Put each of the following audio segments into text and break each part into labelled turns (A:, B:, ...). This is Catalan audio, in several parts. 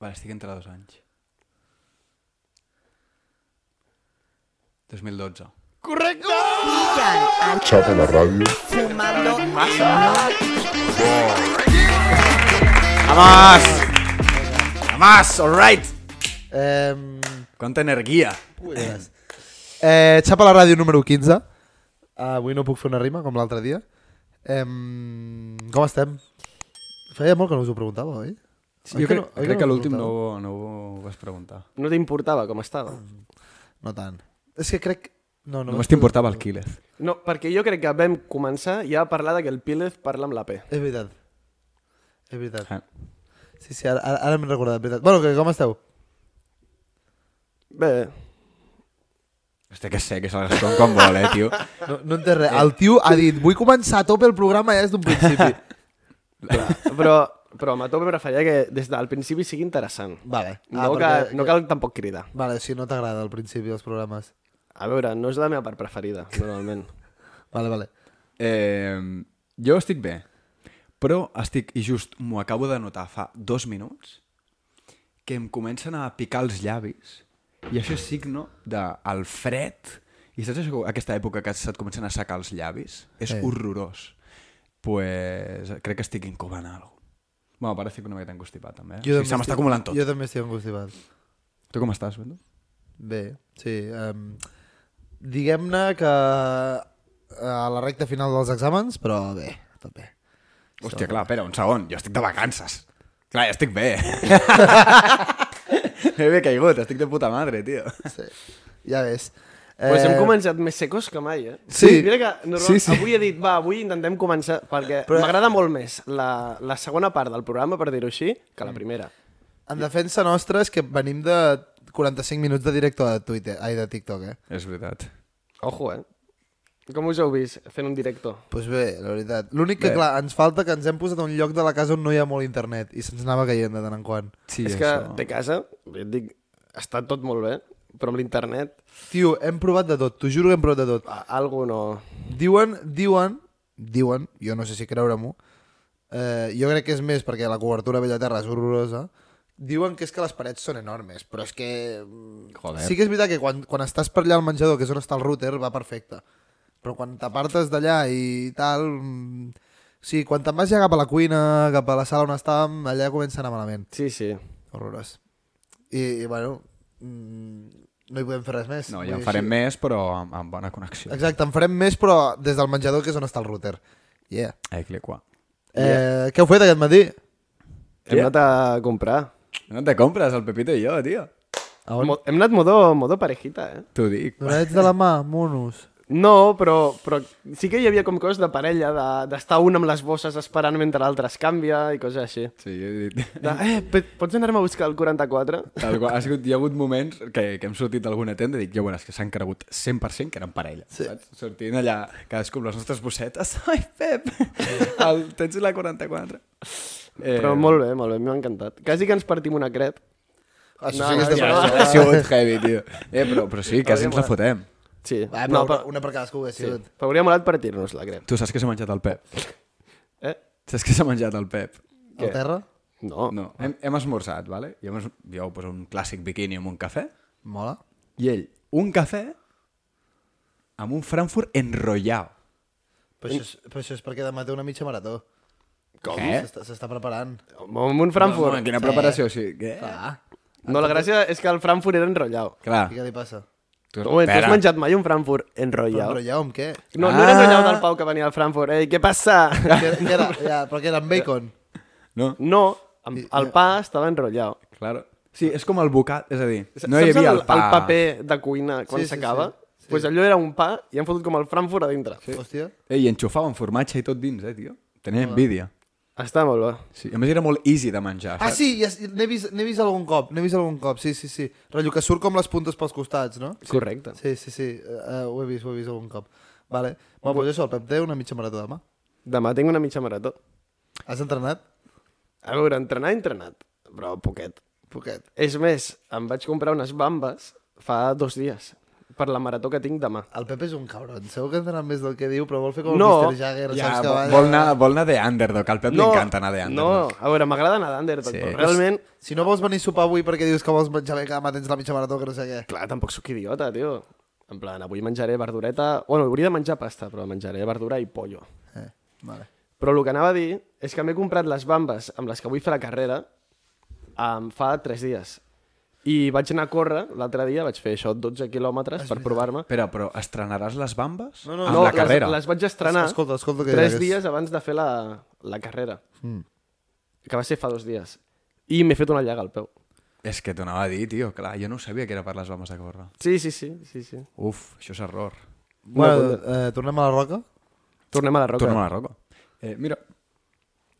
A: Vale, estic entre dos anys. 2012.
B: Correcte!
C: Pillan al
D: Xapa la ràdio.
C: fumando.
B: Vamos! Vamos, all right!
E: Eh,
A: Quanta energia!
E: eh, xapa la ràdio número 15. Ah, avui no puc fer una rima, com l'altre dia. Eh, com estem? Feia molt que no us ho preguntava, oi?
A: Sí,
E: Oi
A: jo crec,
E: oi
A: crec que
E: us ho
A: l'últim no,
E: preguntava?
A: ho- no ho vas preguntar.
B: No t'importava com estava?
E: No tant. És que crec... No, no
A: Només t'importava el Quiles.
B: No, perquè jo crec que vam començar ja a parlar de que el Pílez parla amb la P.
E: És veritat. És veritat.
A: Ah.
E: Sí, sí, ara, ara ara m'he recordat, veritat. Bueno, que com esteu?
B: Bé,
A: Hòstia, que sé, que se l'escon quan vol, eh, tio.
E: No, no entès res. El tio ha dit, vull començar a tope el programa ja des d'un principi.
B: però, però a tope preferia que des del principi sigui interessant.
E: vale.
B: No, ah,
E: perquè-
B: cal, no cal tampoc cridar.
E: Vale, o sigui, no t'agrada al principi dels programes.
B: A veure, no és la meva part preferida, normalment.
E: Vale, vale.
A: Eh, jo estic bé, però estic, i just m'ho acabo de notar fa dos minuts, que em comencen a picar els llavis, i això és signo del fred, i saps això, aquesta època que se't comencen a secar els llavis? És
E: Eh.
A: horrorós. pues, crec que estic incubant alguna cosa. Bueno, a part estic una miqueta encostipat, també. Eh? O sigui, se m'està
E: estic-
A: acumulant tot.
E: Jo també estic angustipat.
A: Tu com estàs, Bento?
E: Bé, sí. Um, Diguem-ne que eh, a la recta final dels exàmens, però bé, tot bé.
A: Hòstia, clar, espera, un segon. Jo estic de vacances. Clar, ja estic bé. He bé caigut, estic de puta madre, tio.
E: Sí. Ja ves.
B: Eh... Pues hem començat més secos que mai, eh?
E: Sí.
B: Mira que normal,
E: Sí, sí.
B: avui he dit, va, avui intentem començar, perquè
E: Però-
B: Però... m'agrada molt més la, la segona part del programa, per dir-ho així, que la primera.
E: En defensa nostra és que venim de 45 minuts de director de Twitter, ai, de TikTok, eh?
A: És veritat.
B: Ojo, eh? Com us heu vist fent un directo?
E: Doncs pues bé, la veritat. L'únic que,
A: Bé.
E: clar, ens falta que ens hem posat a un lloc de la casa on no hi ha molt internet i se'ns anava caient de tant en quant.
A: Sí,
B: és que de casa, ja et dic, està tot molt bé, però amb l'internet
E: Tio, hem provat de tot, t'ho juro que hem provat de tot.
B: a- algo no...
E: Diuen, diuen, diuen, jo no sé si creure-m'ho, eh, jo crec que és més perquè la cobertura a Bellaterra és horrorosa, diuen que és que les parets són enormes, però és que... mm,
A: Joder.
E: Sí que és veritat que quan, quan estàs per allà al menjador, que és on està el router, va perfecte. Però quan t'apartes d'allà i tal... mm, Sí, quan te'n vas ja cap a la cuina, cap a la sala on estàvem, allà comença a anar malament.
B: Sí, sí.
E: Horrorós. I, i bueno, mm, no hi podem fer res més.
A: No,
E: Vull
A: ja en
E: dir,
A: farem
E: sí.
A: més, però amb, amb bona connexió.
E: Exacte, en farem més, però des del menjador, que és on està el router. Yeah.
A: Eh, cliquà.
E: Eh, què heu fet aquest matí?
B: Hem anat a comprar.
A: No te compres el Pepito i jo, tio.
E: A on?
B: Mo- Hem anat modo, modo parejita, eh?
A: T'ho dic.
E: Donets de la mà, monos.
B: No, però, però sí que hi havia com coses de parella, de- d'estar de, un amb les bosses esperant mentre l'altre es canvia i coses així.
A: Sí, jo he dit...
B: De, eh, pe- pots anar-me a buscar el 44?
A: Tal qual. Ha sigut, hi ha hagut moments que, que hem sortit d'alguna tenda i dic, ja veuràs que s'han cregut 100% que eren parella. Sí. Saps? Sortint allà, cadascú amb les nostres bossetes. Ai, Pep, el, tens la 44. Eh,
B: Però molt bé, molt bé, m'ha encantat. Quasi que ens partim una crep.
E: Això
B: No,
E: Ah, sí que és de
B: ja,
E: fresa.
A: Ha sigut heavy, tio. Eh, però, però sí, quasi ens la fotem.
B: Sí.
E: Va,
B: no,
E: Ah, però
B: però,
E: una per cadascú que ha sigut.
B: però hauria molat partir-nos la crep.
A: Tu saps que s'ha menjat el Pep?
B: Eh?
A: Saps que s'ha menjat el Pep?
E: Al terra?
B: No. no.
A: No, hem, hem esmorzat, vale? Jo, hem es... jo pues, un clàssic biquini amb un cafè
E: Mola.
A: i ell un cafè amb un Frankfurt enrotllado.
E: Però això, és, però això és perquè demà té una mitja marató.
A: Com?
E: S'està s'està preparant.
B: Amb un
A: No,
B: Frankfurt.
A: no, quina preparació, sí. Què?
E: Ah,
B: No, la gràcia és que el Frankfurt era enrotllau.
A: Clar.
E: i què li passa?
A: Tu,
B: Tu, tu has
A: espera.
B: menjat mai un Frankfurt
E: Però, però
B: enrotllau?
E: ja, amb què?
B: No, no era enrotllau del Pau que venia al Frankfurt. Ei, què passa?
E: Què, què era? Ja, però què era, amb bacon?
A: No,
B: No, amb- el pa estava enrotllau.
A: claro. Sí, és com el bocat, és a dir,
B: S-
A: no hi
B: Saps
A: havia
B: el,
A: el pa.
B: el paper de cuina quan
E: Sí, sí,
B: s'acaba?
E: sí,
B: Doncs pues allò era un pa i han fotut com el Frankfurt a dintre.
E: Sí. Hòstia.
A: Eh, I enxufaven formatge i tot dins, eh, tio. Tenia envidia.
B: Està molt bé.
A: Sí, a més era molt easy de menjar.
E: Ah, sí, ja, n'he vist, n'he vist algun cop, n'he vist algun cop, sí, sí, sí. Rotllo que surt com les puntes pels costats, no?
B: Correcte.
E: Sí, sí, sí, uh, ho he vist, ho he vist algun cop. Vale. Bueno, doncs això, el Pep té una mitja marató demà.
B: Demà tinc una mitja marató.
E: Has entrenat?
B: A veure, entrenar he entrenat, però poquet.
E: Poquet.
B: És més, em vaig comprar unes bambes fa dos dies. per la marató que tinc demà.
E: El Pepe és un cabron, segur que entenen més del que diu, però vol fer com el
B: No.
E: Mr. Jagger,
A: Ja,
E: saps que
A: vol,
E: va...
A: vol, anar, vol anar de underdog, al Pep no, li encanta anar de
B: No,
A: underdog.
B: a veure, m'agrada anar d'underdog,
A: Sí.
B: sí. però realment...
E: Si no vols venir a sopar avui perquè dius que vols menjar bé que demà tens la mitja marató, que no sé què.
B: Clar, tampoc sóc idiota, tio. En plan, avui menjaré verdureta... Bueno, hauria de menjar pasta, però menjaré verdura i pollo.
E: Eh, vale.
B: Però el que anava a dir és que m'he comprat les bambes amb les que vull fer la carrera um, fa 3 dies. I vaig anar a córrer l'altre dia, vaig fer això 12
E: Ah,
B: quilòmetres per provar-me.
A: Espera, però estrenaràs les bambes?
E: No, no,
A: amb
E: no,
A: Ah, la carrera?
B: Les, les vaig estrenar
E: Escolta, escolta que digues.
B: 3 dies abans de fer la, la carrera. Mm. Que va ser fa dos dies. I m'he fet una llaga al peu.
A: És que t'ho anava a dir, tio, clar, jo no sabia que era per les bambes de córrer.
B: Sí, sí, sí. sí, sí.
A: Uf, això és error.
E: Bueno, eh, tornem a la roca.
B: Tornem a la roca.
A: Tornem a la roca. Eh, mira,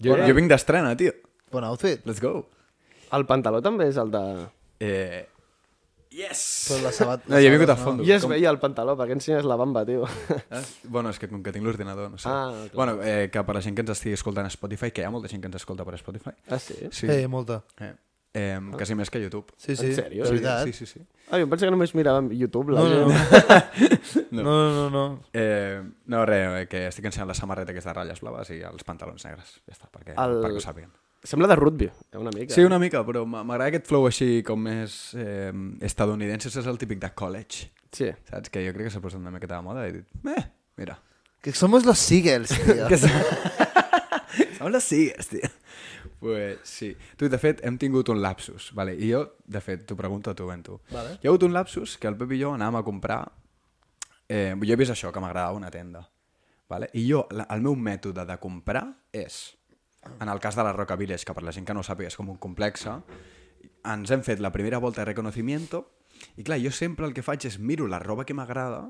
A: jo, jo vinc d'estrena, tio.
E: Bon outfit.
A: Let's go.
B: El pantaló també és el de...
A: Eh, yes!
E: Però la sabat...
A: No, jo he vingut a fondo.
B: I es veia el pantaló, perquè ensenyes la bamba, tio.
A: Ah, Bueno, és que com que tinc l'ordinador, no sé.
B: Ah, clar.
A: bueno, eh, que per la gent que ens estigui escoltant a Spotify, que hi ha molta gent que ens escolta per Spotify.
B: Ah, sí?
A: Sí.
E: Sí. Eh, molta.
A: Eh, eh, quasi més que YouTube.
E: Sí, sí.
B: sèrio?
E: De
B: Sí,
E: veritat.
A: Sí, sí, sí.
B: Ah, jo em pensava que només mirava YouTube, la
E: No,
B: gent.
A: No.
E: no, no. no, no, no, no.
A: Eh, no, res, eh, que estic ensenyant la samarreta aquesta de ratlles blaves i els pantalons negres. Ja està, perquè,
B: El-
A: el... perquè ho sàpiguen.
B: Sembla de rugby, eh, una mica.
A: Sí, una mica, però m'a- m'agrada aquest flow així com més eh, estadounidense, és el típic de college.
B: Sí.
A: Saps? Que jo crec que s'ha posat una miqueta de moda i he dit, eh, mira.
E: Que somos los Seagulls, tio.
A: Que Són les sigues, tio. Pues, sí. Tu, de fet, hem tingut un lapsus, vale? i jo, de fet, t'ho pregunto a tu, ben tu.
E: Vale.
A: Hi ha hagut un lapsus que el Pep i jo anàvem a comprar... Eh, jo he vist això, que m'agradava una tenda. Vale? I jo, la, el meu mètode de comprar és, en el cas de la Roca Village, que per la gent que no ho sàpiga és com un complexe, ens hem fet la primera volta de reconocimiento i clar, jo sempre el que faig és miro la roba que m'agrada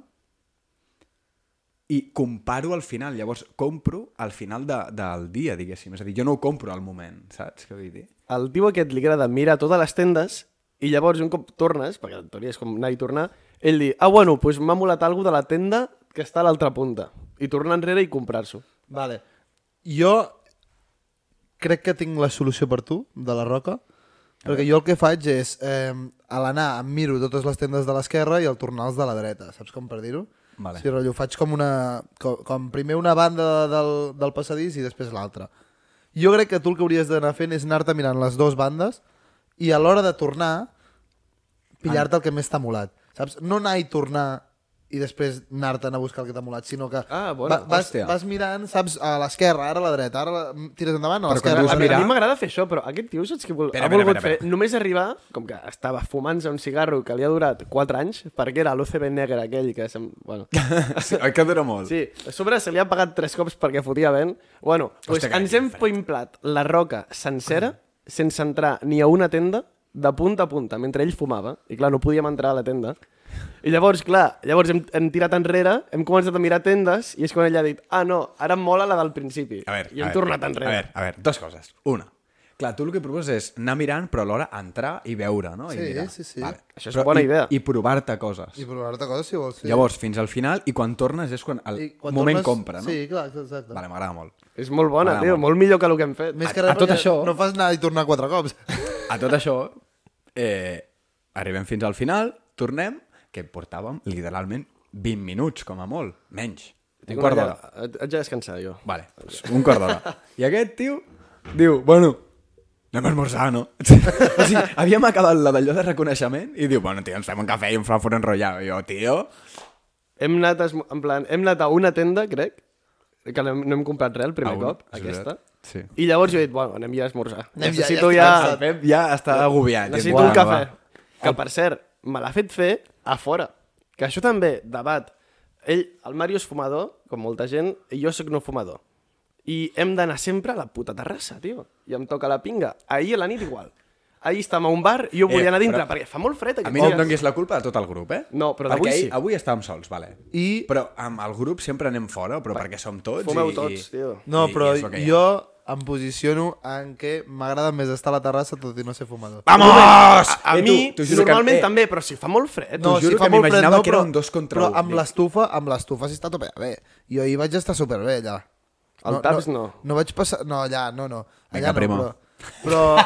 A: i comparo al final. Llavors, compro al final de, del dia, diguéssim. És a dir, jo no ho compro al moment, saps què vull dir?
B: Al tio aquest li agrada mirar totes les tendes i llavors un cop tornes, perquè en teoria és com anar i tornar, ell diu, ah, bueno, doncs m'ha molat algú de la tenda que està a l'altra punta. I tornar enrere i comprar-s'ho.
E: Vale. Jo crec que tinc la solució per tu, de la roca, perquè jo el que faig és, eh, a l'anar em miro totes les tendes de l'esquerra i al tornar els de la dreta, saps com per dir-ho?
A: Vale.
E: Sí, rotllo, faig com una... Com, com primer una banda del, del passadís i després l'altra. Jo crec que tu el que hauries d'anar fent és anar-te mirant les dues bandes i a l'hora de tornar, pillar-te el que més t'ha molat. Saps? No anar i tornar i després anar-te'n a buscar el que t'ha molat, sinó que
B: Ah, bona,
E: vas,
A: hòstia.
E: vas mirant, saps, a l'esquerra, ara a la dreta, ara la... tires endavant, a
A: Però quan
E: l'esquerra.
A: dius
B: A,
E: ara-
B: mi- a
A: mirar-
B: mi m'agrada fer això, però aquest tio saps què vol,
A: Espera,
B: ha volgut
A: espera, espera,
B: fer? Només arribar, com que estava fumant-se un cigarro que li ha durat 4 anys, perquè era l'UCB negre aquell que... Sem... Bueno,
A: Sí, oi que dura molt?
B: Sí, a sobre se li ha pagat tres cops perquè fotia vent. Bueno, pues
A: Hòstia, que
B: ens hem
A: diferent.
B: poimplat la roca sencera sense entrar ni a una tenda de punta a punta, mentre ell fumava. I clar, no podíem entrar a la tenda. I llavors, clar, llavors hem, hem tirat enrere, hem començat a mirar tendes i és quan ell ha dit, ah, no, ara em mola la del principi.
A: A veure,
B: I hem
A: a veure,
B: tornat enrere.
A: A veure, a veure, dues coses. Una, clar, tu el que proposes és anar mirant, però alhora entrar i veure, no?
E: Sí,
A: I mirar.
E: sí, sí.
B: Això és bona
A: i,
B: idea.
A: I provar-te coses.
E: I provar-te coses, si vols. Sí.
A: Llavors, fins al final, i quan tornes és quan el
E: I quan
A: moment
E: tornes-
A: compra, no?
E: Sí, clar, exacte.
A: Vale, m'agrada molt.
B: És molt bona,
A: M'agrada
B: tio, molt millor que el que hem fet. Ah,
E: Més
A: A-
E: que res,
A: a tot
E: perquè
A: això-
E: No fas anar i tornar quatre cops.
A: A tot això, eh, arribem fins al final, tornem, que portàvem literalment 20 minuts, com a molt, menys. Un
B: Tinc una
A: quart
B: llaga.
A: d'hora.
B: Haig haig de descansar, jo.
A: Vale, pues, un quart d'hora. I aquest tio diu, bueno, anem a esmorzar, no? o sigui, havíem acabat la d'allò de reconeixement i diu, bueno, tio, ens fem un cafè i un frankfurt enrotllat. I jo, tio...
B: Hem anat, a esmo- en plan, hem anat a una tenda, crec, que no hem, no hem comprat res el primer
A: A una,
B: cop,
A: és
B: aquesta.
A: veritat. Sí.
B: I llavors jo he dit, bueno, anem ja a esmorzar.
E: Anem ja,
B: necessito
E: ja
B: ja...
E: estic
A: El Pep ja està agobiat.
B: necessito un cafè. Que, per cert, me l'ha fet fer a fora. Que això també, debat. Ell, el Mario és fumador, com molta gent, i jo sóc no fumador. I hem d'anar sempre a la puta terrassa, tio. I em toca la pinga. Ahir a la nit igual. Ahir estàvem a un bar i jo
A: Eh,
B: volia anar a dintre,
A: però-
B: perquè fa molt fred
A: A
B: aquests
A: mi no em
B: dies.
A: donguis la culpa de tot el grup, eh?
B: No, però
A: Perquè
B: d'avui
A: ahir-
B: sí.
A: avui estàvem sols, vale.
E: I-
A: Però amb el grup sempre anem fora, però perquè som tots
B: Fumeu
A: i...
B: tots,
A: i...
B: tio.
E: No,
A: I-
E: però
A: i és el que hi ha.
E: jo em posiciono en què m'agrada més estar a la terrassa tot i no ser fumador.
A: Vamos!
B: A
A: Eh, tu-
B: mi,
A: t'ho juro que-
B: normalment
A: eh,
B: també, però si fa molt fred...
A: No, T'ho juro que
E: molt
A: m'imaginava que era un dos contra
E: però
A: un,
E: amb
A: dic.
E: l'estufa, amb l'estufa s'hi està tope. Bé, jo ahir vaig estar superbé allà.
B: Al Taps no.
E: No vaig passar... No, allà, no, no.
A: Vinga,
E: Allà
A: primo.
E: no, però... Però,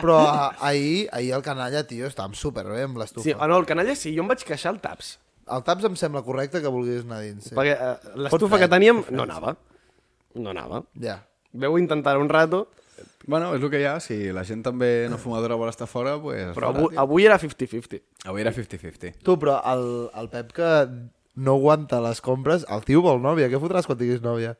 E: però a, ahir, ahir el canalla, tio, estàvem superbé amb l'estufa.
B: Sí, ah, no, el canalla sí, jo em vaig queixar al taps.
E: El taps em sembla correcte que vulguis anar dins. Sí.
B: Perquè eh, l'estufa que teníem no anava. No anava.
E: Ja.
B: Veu intentar un rato,
A: Bueno, és el que hi ha. Si la gent també no fumadora vol estar fora, pues,
B: però
A: fora,
B: avui, avui era 50-50.
A: tio. avui era 50-50.
E: Tu, però el, el Pep que no aguanta les compres, el tio vol nòvia. Què fotràs quan tinguis nòvia?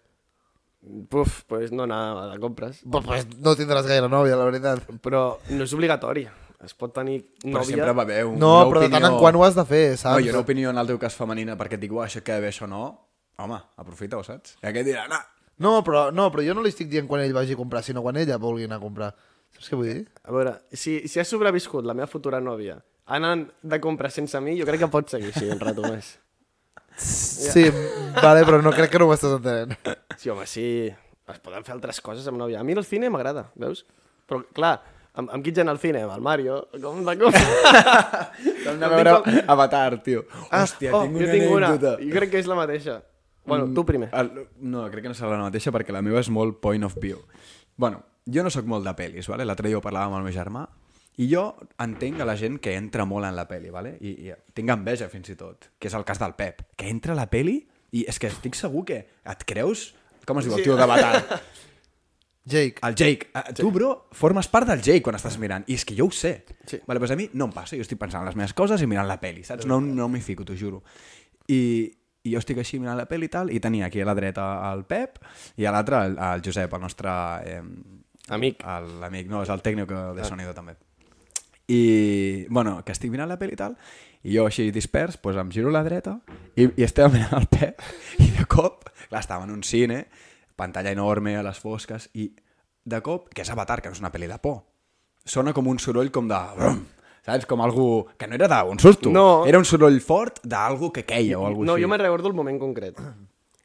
B: Puf, pues no anava de compres.
E: Però, pues, no tindràs gaire nòvia, la veritat.
B: Però no és obligatori. Es pot tenir
A: Però
B: nòvia.
A: sempre va haver un,
E: No,
A: una
E: però de
A: opinió...
E: tant en quant ho has de fer,
A: No,
E: saps?
A: i una opinió en el teu cas femenina perquè et dic, "Uah, això queda bé, això no. Home, aprofita-ho, saps? I aquest dirà, no.
E: No, però, no, però jo no li estic dient quan ell vagi a comprar, sinó quan ella vulgui anar a comprar. Saps què vull dir?
B: A veure, si, si ha sobreviscut la meva futura nòvia anant de compra sense mi, jo crec que pot seguir així un rato més.
E: Sí, vale, però no crec que no ho estàs entenent.
B: Sí, home, sí. Es poden fer altres coses amb nòvia. A mi el cine m'agrada, veus? Però, clar, amb, amb qui gent al cine? Amb el Mario? Com de cop?
A: Hem de veure Avatar, tio. Ah, Hòstia,
B: oh,
A: tinc
B: jo
A: una
B: tinc una.
A: anècdota.
B: Jo crec que és la mateixa. Bueno, tu primer.
A: Mm, El, no, crec que no serà la mateixa perquè la meva és molt point of view. Bueno, jo no sóc molt de pel·lis, vale? l'altre dia ho parlava amb el meu germà, i jo entenc a la gent que entra molt en la pel·li, vale? I, i tinc enveja fins i tot, que és el cas del Pep, que entra a la pel·li i és que estic segur que et creus... Com es diu el tio d'Avatar?
E: Jake,
A: El Jake. Eh, Tu, bro, formes part del Jake quan estàs mirant. I és que jo ho sé.
B: Sí.
A: Vale, però a mi no em passa. Jo estic pensant en les meves coses i mirant la peli, saps? No, no m'hi fico, t'ho juro. I, I jo estic així mirant la peli i tal, i tenia aquí a la dreta el Pep i a l'altra el, el Josep, el nostre... Eh,
B: Amic. Ah.
A: el- L'amic, no, és el tècnic de sonido també. I, bueno, que estic mirant la pel·li i tal, i jo així dispers, doncs em giro a la dreta i, i estava mirant el Pep, i de cop, clar, estava en un cine, pantalla enorme, a les fosques, i de cop, que és Avatar, que no és una pel·li de por, sona com un soroll com de... Brum, saps? Com algú que no era d'un susto,
B: No.
A: era un soroll fort d'algú que queia o algú
B: No,
A: així.
B: jo me'n recordo el moment concret.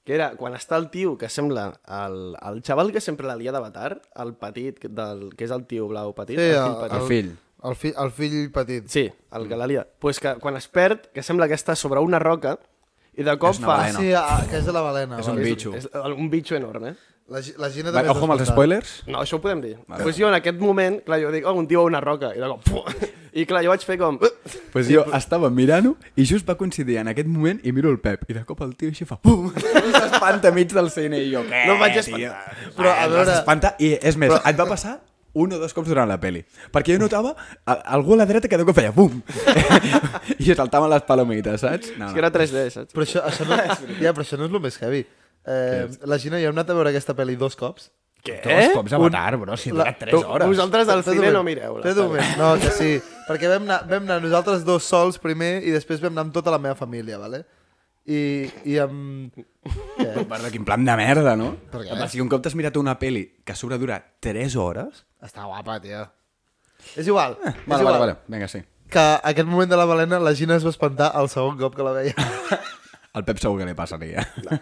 B: Que era quan està el tio que sembla el, el xaval que sempre la lia d'avatar, el petit, que- del, que és el tio blau petit,
E: Sí,
B: el
E: el-
B: fill petit.
A: El fill.
E: el, fi, el fill petit.
B: Sí, el que la lia. Pues que quan es perd, que sembla que està sobre una roca, i de cop
A: És una
B: fa...
A: balena.
E: Sí, ah, que és de la balena.
A: És un
E: vale.
A: bitxo.
B: És un bitxo enorme.
E: La, Gi- la Gina
A: Va,
E: també
A: ojo amb els
E: escoltat.
A: spoilers.
B: No, això ho podem dir. Vale. Pues jo en aquest moment, clar, jo dic, oh, un tio a una roca, i de cop... Puh, I clar, jo vaig fer com... "Uh",
A: pues jo estava mirant-ho i just va coincidir en aquest moment i miro el Pep i de cop el tio així fa pum i s'espanta mig del cine i jo què
B: No em vaig
A: tio?"
B: espantar.
A: però
E: Eh,
A: a
E: no
A: veure
E: s'espanta,
A: s'espanta i és més però... et va passar un o dos cops durant la peli perquè jo notava a, algú a la dreta que de cop feia pum i jo saltava les palomites saps? No,
B: És que
A: no.
B: era 3D, saps?
E: Però això, això, no, ja, però això no és el més heavy. Eh, la Gina ja hem anat a veure aquesta pel·li dos cops.
B: Què?
A: dos cops Avatar bro si
E: La-
A: dura 3
B: tu-
A: hores
B: Vosaltres al
E: Espera un
B: cine
E: moment,
B: no mireu. la
E: espera un
B: pel·li.
E: moment. No, que sí. Perquè vam anar, vam anar nosaltres dos sols primer i després vam anar amb tota la meva família, vale? I, i amb... Què?
A: Perdó, quin plan de merda, no?
E: Per què?
A: Si un cop t'has mirat una peli que a sobre dura 3 hores...
E: Està guapa, tia. És igual. Eh, és
A: Vale,
E: igual.
A: vale, vale. Vinga, sí.
E: Que aquest moment de la balena la Gina es va espantar el segon cop que la veia.
A: Al Pep segur que li passaria.
E: Però,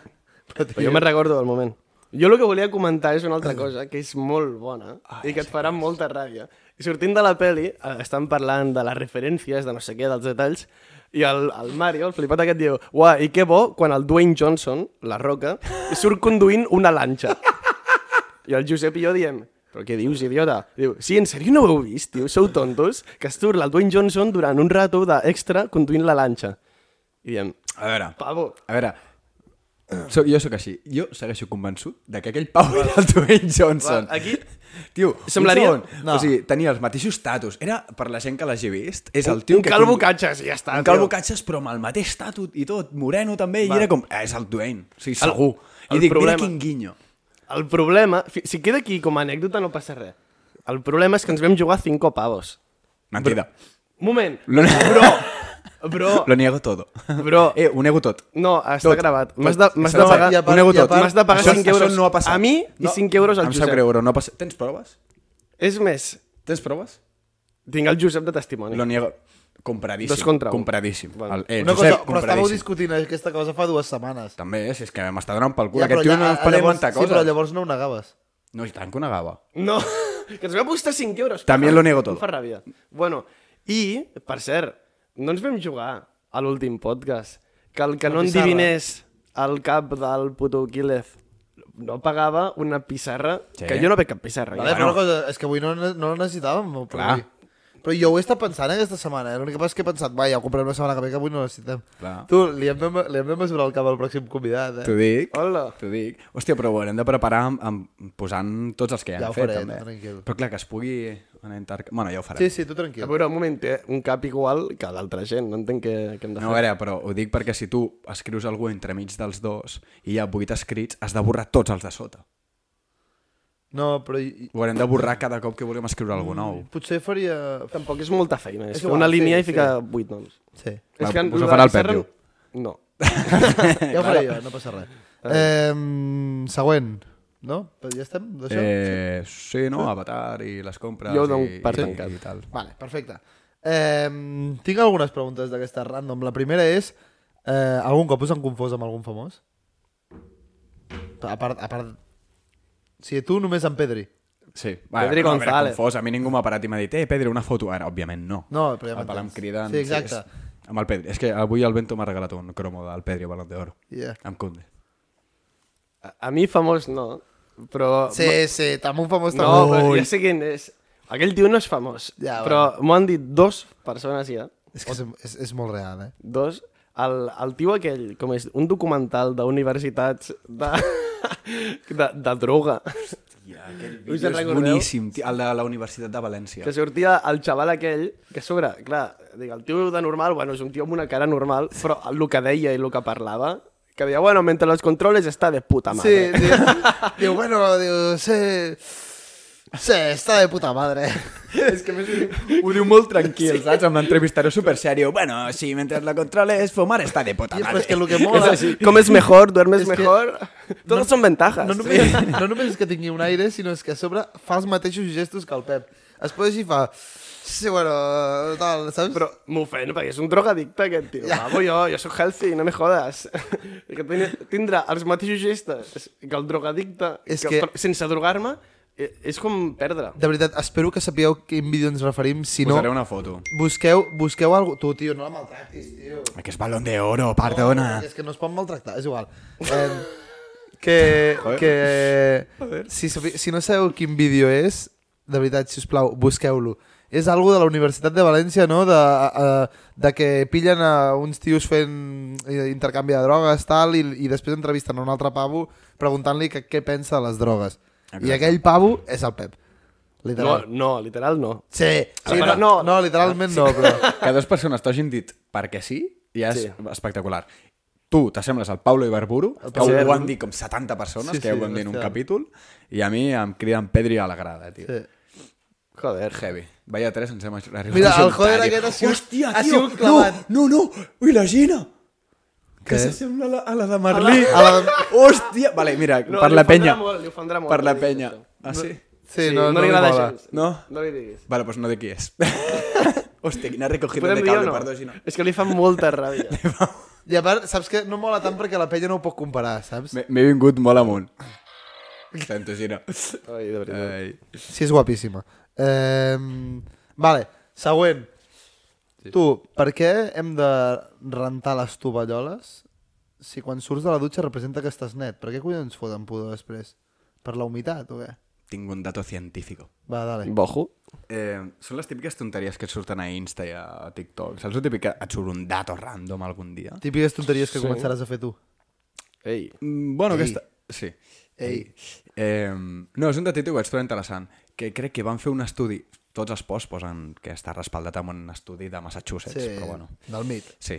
B: Però jo me'n recordo del moment. Jo el que volia comentar és una altra cosa, que és molt bona i que et farà molta ràbia. I sortint de la peli, eh, estan parlant de les referències, de no sé què, dels detalls, i el, el Mario, el flipat aquest, diu «Uah, i què bo quan el Dwayne Johnson, la roca, surt conduint una lanxa». I el Josep i jo diem «Però què dius, idiota?» I diu «Sí, en sèrio no ho heu vist, tio? Sou tontos? Que surt el Dwayne Johnson durant un rato d'extra conduint la lanxa». I diem
A: A veure...
B: «Pavo,
A: A veure, so, jo sóc així. Jo segueixo convençut de que aquell Pau era el Dwayne Johnson.
B: Va, aquí-
A: Tio,
B: Semblaria-
A: un segon. No.
E: No.
A: O sigui, tenia els mateixos tatus. Era, per la gent que l'hagi vist, és el tio
B: un
A: que...
B: calvo catxes i ja està,
A: Un
B: tio.
A: calvo catxes, però amb el mateix tatu i tot, moreno també, i era com, "Ah, és el Dwayne, o sigui, segur.
B: el
A: I dic,
B: problema-
A: mira quin guinyo.
B: El problema... fi- Si queda aquí com a anècdota no passa res. El problema és que ens vam jugar 5 pavos.
A: Mentida.
B: Moment.
A: Lo,
B: Bro. Bro.
A: lo niego todo.
B: Bro.
A: Eh, ho nego tot.
B: No, està
A: Tot,
B: gravat.
A: tot.
B: M'has de, m'has de
A: S'ha de
B: pagar...
E: I a part-
A: Ho nego
E: i a
A: tot.
E: part-
B: M'has de pagar
A: Això-
B: 5 euros
A: Això no ha passat.
B: a mi i 5 euros al
A: em
B: Josep.
A: sap greu, però no ha passat. Tens proves?
B: És més,
A: Tens proves?
B: tinc el Josep de testimoni.
A: Lo niego. Compradíssim.
B: Dos contra un.
A: Compradíssim.
B: Bueno.
A: El, eh,
E: Una
A: Josep,
E: cosa, però
A: compradíssim.
E: estàveu discutint aquesta cosa fa dues setmanes.
A: També, eh, si és que m'està donant pel cul.
E: Ja,
A: Ja, Aquest
E: però
A: tio
E: ja- ah,
A: no ens parla
E: llavors-
A: inventar
E: Sí, però
A: coses.
E: llavors no ho negaves.
A: No, i tant que una gava.
B: No, que ens va costar 5 euros.
A: També
B: Em fa-
A: lo nego
B: Em
A: todo.
B: fa ràbia. Bueno, i, per cert, no ens vam jugar a l'últim podcast, que el que no
E: pissarra.
B: endivinés el cap del puto Quílez no pagava una pissarra,
A: Sí.
B: que jo no veig cap pissarra.
E: Vale,
B: ja.
E: però una cosa, és que avui no, no la
A: Clar.
E: necessitàvem. Clar. Però jo ho he estat pensant aquesta setmana, eh? l'únic que passa és que he pensat, va, ja ho comprarem la setmana que ve, que avui no necessitem.
A: Clar.
E: Tu, li hem, de, li hem de mesurar el cap al pròxim convidat, eh?
A: T'ho dic.
B: Hola.
A: T'ho dic. Hòstia, però ho haurem de preparar amb, amb, posant tots els que ja,
E: Ja ho
A: han fet,
E: faré,
A: també.
E: tu tranquil.
A: Però clar, que es pugui anar a interc... Bueno, ja ho farem.
E: Sí, sí, tu
B: A
E: tranquil.
B: veure, un moment, té un cap igual que l'altra gent, no entenc què, què hem de
A: No, a
B: fer.
A: veure, però ho dic perquè si tu escrius algú entremig dels dos i hi ha vuit escrits, has de borrar tots els de sota.
E: No, però i- i-
A: Ho haurem de borrar cada cop que vulguem escriure
E: Mm,
A: algú nou.
E: potser faria...
B: Tampoc és molta feina, és,
E: És
B: és
E: igual,
B: una línia
E: sí,
B: i ficar vuit noms.
E: Sí.
A: Va,
B: és que
A: us ho
B: la
A: farà el Pep,
B: Serra-
A: diu.
B: No.
E: Ja ho faré jo, no passa res. Eh, següent, no? Però ja estem d'això?
A: Eh, sí, no? Avatar i les compres
B: Jo ho dono
A: i,
B: per
A: i,
B: tancat.
A: i tal.
E: Vale, perfecte. Eh, tinc algunes preguntes d'aquestes random. La primera és, eh, algun cop us han confós amb algun famós? A part, a part... Si tu només en Pedri.
A: Sí.
B: Pedri
A: però, a veure,
B: González.
A: Confós, a mi ningú m'ha parat i m'ha dit, eh, Pedri, una foto. Ara, òbviament, no.
E: No, però ja
B: Ah,
A: el Palam
E: m'entens.
A: cridant...
E: Sí, exacte.
A: Sí, és... Amb el Pedri. És que avui el Bento m'ha regalat un cromo del Pedri Balón d'Oro.
E: Yeah.
A: Amb Cunde.
B: A, a mi famós no, però...
E: Sí, sí, amb un famós
B: No,
E: també.
B: però
E: Ui.
B: ja sé quin és. Aquell tio no és famós, ja,
E: Ja,
B: però m'ho han dit dos persones ja,
E: És que és, és, és molt real, eh?
B: dos. El, el tio aquell, com és, un documental d'universitats de, de, de droga,
A: Tia, aquell
B: vídeo és recordeu?
A: boníssim, tia, el de la Universitat de València.
B: que sortia el xaval aquell, que a sobre, clar, dic, el tio de normal, bueno, és un tio amb una cara normal, però el que deia i el que parlava, que deia, bueno, mentre los controles està eh? de puta
E: Sí,
B: madre.
E: diu, diu, bueno, diu, sí... Sí, està de puta madre.
A: és que més ho diu, ho diu molt tranquil, sí. saps? Amb l'entrevistador super serio. Bueno, sí, mentre la controles, fumar està de puta
E: Tio,
A: madre.
E: però és que el que mola...
B: Com és mejor, duermes
E: És que-
B: mejor, todos son ventajas.
E: No només, no només és que tingui un aire, sinó és que a sobre fa els mateixos gestos que el Pep. Es posa així i fa... Sí, bueno, tal, saps?
B: Però m'ofèn, perquè és un drogadicte aquest tio. Ja. Vamos, jo, jo soc healthy, no me jodas. que ten- tindrà els mateixos gestes que el drogadicte,
E: És
B: que,
E: que-
B: però sense drogar-me, eh, és com perdre.
E: De veritat, espero que sapigueu a quin vídeo ens referim, si no...
A: Posaré una foto.
E: Busqueu, busqueu algo... Tu, tio, no la maltractis, tio.
A: Que és Balón d'Oro, perdona.
E: És que no es pot maltractar, és igual. Eh, que que si, sabi- si no sabeu quin vídeo és, de veritat, si us plau, busqueu-lo. És algo de la Universitat de València, no? De, eh, de que pillen a uns tios fent eh, intercanvi de drogues, tal, i, i després entrevisten a un altre pavo preguntant-li que què pensa de les drogues. Exacte. I
A: Exacte.
E: aquell pavo és el Pep.
B: No,
E: Literal. No.
B: no, literal no.
E: Sí, sí
B: Però
E: no, no,
B: no-
E: no, literalment no, però...
A: Que dues persones t'hagin dit perquè sí, ja és
B: Sí.
A: espectacular. Tu t'assembles al Paulo Ibarburu, que
B: Paulo
A: ho
B: Ibarburu.
A: han dit com 70 persones,
E: Sí,
A: que ja
E: sí,
A: ho hem dit en un
E: bestial.
A: capítol, i a mi em criden Pedri a la grada, tio.
E: Sí.
B: Joder.
A: Heavy. Vaya tres ens hem arribat
E: Mira,
A: a
E: el
A: juntar,
E: joder
A: tio.
E: aquest ha sigut-
A: Hòstia,
E: ha
A: tio,
E: sigut clavat.
A: No, no, no. Ui, la Gina. Que
E: Què?
A: s'assembla a, la- a la de Merlí.
E: A la...
A: Hòstia. Vale, mira,
B: No,
A: per
B: li
A: la
B: ofendrà
A: penya.
B: molt, li ofendrà molt,
A: per la
B: no diguis
A: penya.
B: això.
A: Ah, sí?
E: Sí, no, no,
B: li
E: li
B: agrada
E: mola.
B: gens.
A: No?
B: No li diguis.
A: Vale, pues no de qui és. Hòstia, quina recogida de
B: Podem dir o
A: cable,
B: no?
A: perdó, Gina.
B: És que li fa molta ràbia.
E: I a part, saps que no mola tant perquè la penya no ho pot comparar, saps?
A: M'he- M'he vingut molt amunt. Sento, Gina.
B: Ai, de veritat.
A: Ai.
E: Sí, és guapíssima. Eh, vale, següent. Sí. Tu, per què hem de rentar les tovalloles si quan surts de la dutxa representa que estàs net? Per què collons foten pudor després? Per la humitat o què?
A: Tinc un dato científico.
E: Va, dale.
B: Bojo.
A: Eh, són les típiques tonteries que et surten a Insta i a TikTok. Saps el típic que et surt "Ah, un dato random algun dia?
E: Típiques tonteries que sí. començaràs a fer tu.
B: Ei.
A: Mm, Bueno,
E: Ei.
A: aquesta... Sí.
E: Ei.
A: Eh, no, és un datit que vaig trobar interessant, que crec que van fer un estudi... Tots els posts posen que està respaldat amb un estudi de Massachusetts,
E: Sí,
A: però bueno.
E: del mit.
A: Sí.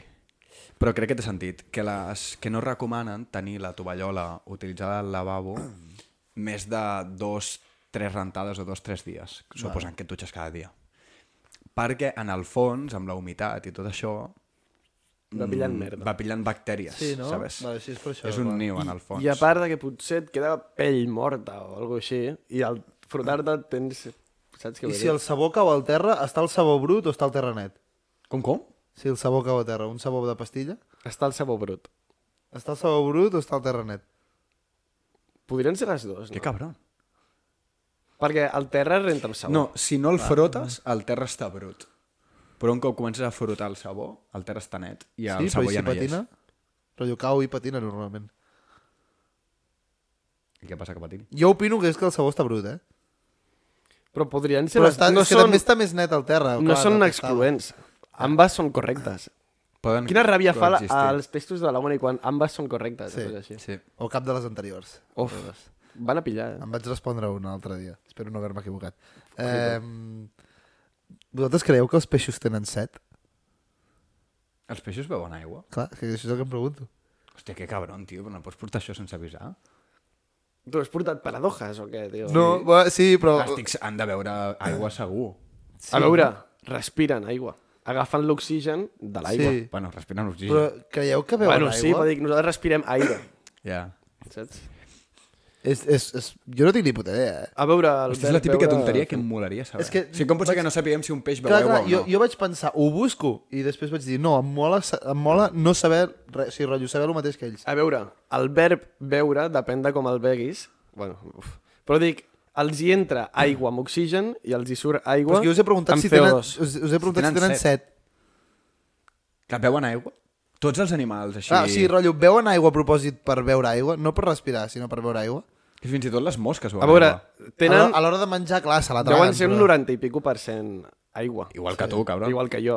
A: Però crec que té sentit, que, les, que no recomanen tenir la tovallola utilitzada al lavabo més de dos, tres rentades o dos, tres dies, suposant que et dutxes cada dia. Perquè en el fons, amb la humitat i tot això,
E: Mm,
A: mm,
B: Va pillant merda.
A: va pillant bactèries,
E: Sí, no?
A: sabes?
E: Vale, sí, és per això,
A: És un
E: va.
A: niu, en el fons.
B: I a part de que potser et queda pell morta o alguna així, i al frotar-te tens... Saps què
E: I
B: vull
E: si
B: dir?
E: el sabó cau al terra, està el sabó brut o està al terra net?
A: Com, com?
E: Si el sabó cau a terra, un sabó de pastilla?
B: Està el sabó brut.
E: Està el sabó brut o està al terra net?
B: Podrien ser les dues,
A: Que
B: no?
A: cabron.
B: Perquè el terra renta el sabó.
A: No, si no el frotes, el terra està brut. Però un cop comences a frotar el sabó, el terra està net i el
E: però
A: sabó
E: i
A: ja
E: si
A: no hi és.
E: patina? Rotllo cau i patina normalment.
A: I què passa que patini?
E: Jo opino que és que el sabó està brut, eh?
B: Però podrien ser...
E: Però
B: les-
E: està,
B: no
E: és que
B: són,
E: també està més net el terra.
B: no
E: clar,
B: són
E: del que
B: excloents. Ambas són correctes.
A: Poden
B: Quina ràbia fa la-
A: coexistir.
B: als textos de la una i quan ambas són correctes.
E: Sí.
B: Sí. Així.
A: Sí.
E: estava. O cap de les anteriors.
B: Uf, van a pillar. Eh?
E: Em vaig respondre un altre dia. Espero no haver-me equivocat. Eh, vosaltres creieu que els peixos tenen set?
A: Els peixos beuen aigua?
E: Clar, que això és el que em pregunto.
A: Hòstia, que cabron, tio, però no pots portar això sense avisar.
B: Tu has portat paradojas o què, tio?
E: No, bo- sí, però...
A: Plàstics han de beure aigua segur.
B: A veure, respiren aigua. Agafen l'oxigen de l'aigua.
E: Sí.
A: Bueno, respiren oxigen.
E: Però
A: Però...
E: creieu que beuen
B: Bueno,
E: aigua?
B: sí, però dic, nosaltres respirem aire,
A: Ja.
B: saps?
E: és, és, és... Jo no tinc ni puta idea, eh?
B: A veure...
A: Hòstia, és
B: Albert,
A: la típica
B: veure-
A: tonteria que em molaria saber.
E: És que-
A: O sigui, com pot ser que no sapiguem si un peix beu
E: Clar, clar,
A: aigua o
E: jo,
A: no?
E: jo vaig pensar, ho busco, i després vaig dir, no, em mola, sa- em mola no saber res, o sigui, rotllo, saber el mateix que ells.
B: A veure, el verb beure depèn de com el beguis. Bueno, uf. Però dic, els hi entra aigua amb oxigen i els hi surt aigua
E: Però és que us he preguntat
B: amb
E: si tenen, us,
B: CO2.
E: us he preguntat
A: tenen
E: si tenen set.
A: Que beuen aigua? Tots els animals, així...
E: Ah, sí, rotllo, beuen aigua a propòsit per beure aigua, no per respirar, sinó per beure aigua.
A: Que fins i tot les mosques beuen
B: A veure,
A: aigua.
E: A
B: tenen...
E: l'ho- A l'hora de menjar, clar, se la traguen.
B: Deuen ser un
E: però-
B: 90 i pico per cent aigua.
A: Igual que tu, cabron.
B: Igual que jo.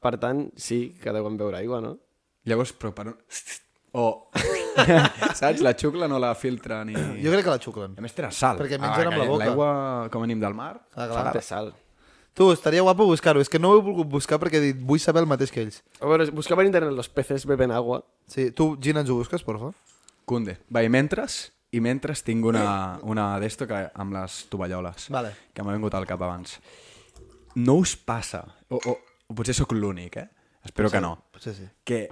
B: Per tant, sí que deuen beure aigua, no?
A: Llavors, però per un... O... oh. Saps? La xucla no la filtra ni...
E: Jo crec que la xuclen.
A: A més, tenen sal. Ah,
E: Perquè mengen amb la
A: que
E: boca.
A: L'aigua, com venim del mar...
E: Ah, clar.
B: Clar. Té sal.
E: Tu, estaria guapo buscar-ho. És que no ho he volgut buscar perquè he dit, vull saber el mateix que ells.
B: A veure, buscava per internet los peces beben agua.
E: Sí, tu, Gina, ens ho busques, por favor?
A: Cunde. Va, i mentres... I mentres tinc una, una d'esto que amb les tovalloles.
E: Eh. Vale.
A: Que m'ha vingut al cap abans. No us passa... O, o, o potser sóc l'únic, eh? Espero que no.
E: Potser sí.
A: que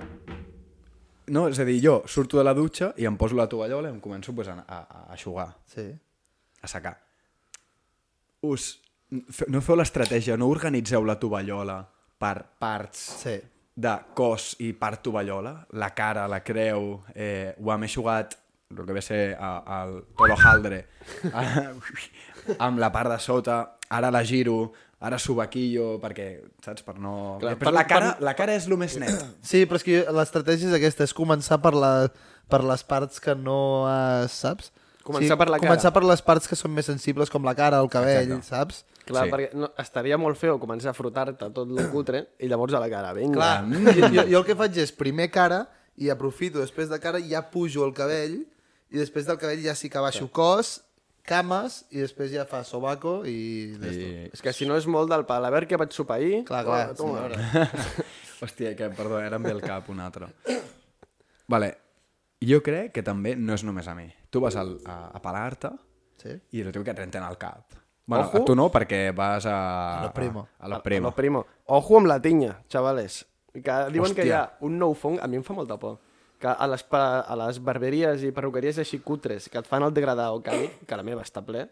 A: no, és a dir, jo surto de la dutxa i em poso la tovallola i em començo pues, a, a, a aixugar,
E: Sí.
A: a secar. Us, fe- no feu l'estratègia, no organitzeu la tovallola per parts
E: Sí.
A: de cos i part tovallola, la cara, la creu, eh, ho hem aixugat el que ve a ser eh, a- al Polo Haldre, eh, amb la part de sota, ara la giro, ara subaquillo, perquè, saps, per no...
B: Clar,
A: Però
B: per-
A: la, cara, la cara és el més net.
E: Sí, però és que jo- l'estratègia és aquesta, és començar per, la, per les parts que no eh, saps.
B: Començar per la cara.
E: Començar per les parts que són més sensibles, com la cara, el cabell,
A: Exacte.
E: saps?
B: Clar,
A: Sí.
B: sí. perquè no, estaria molt feo començar a frotar-te tot el cutre i llavors a la cara, vinga.
E: Clar, jo, jo, jo el que faig és primer cara i aprofito, després de cara ja pujo el cabell i després del cabell ja sí que baixo cos, cames i després ja fa sobaco i... I...
A: I...
B: És que si no és molt del pal. A veure què vaig sopar ahir.
E: Clar, clar,
B: Oh, toma.
A: Hòstia, que, perdó, eh, ara em ve el cap un altre. Vale, jo crec que també no és només a mi. Tu vas al, a, a pelar-te
E: Sí?
A: i el teu que et renten al cap. Bueno,
B: Ojo.
A: a tu no, perquè vas a... A
E: lo primo.
A: A, a lo primo.
B: Lo primo. Ojo amb la tinya, xavales. Que diuen Hòstia. que hi
A: Hòstia.
B: ha un nou fong, a mi em fa molta por, que a les, pa- a les barberies i perruqueries així cutres, que et fan el degradar o cami, que la meva està ple,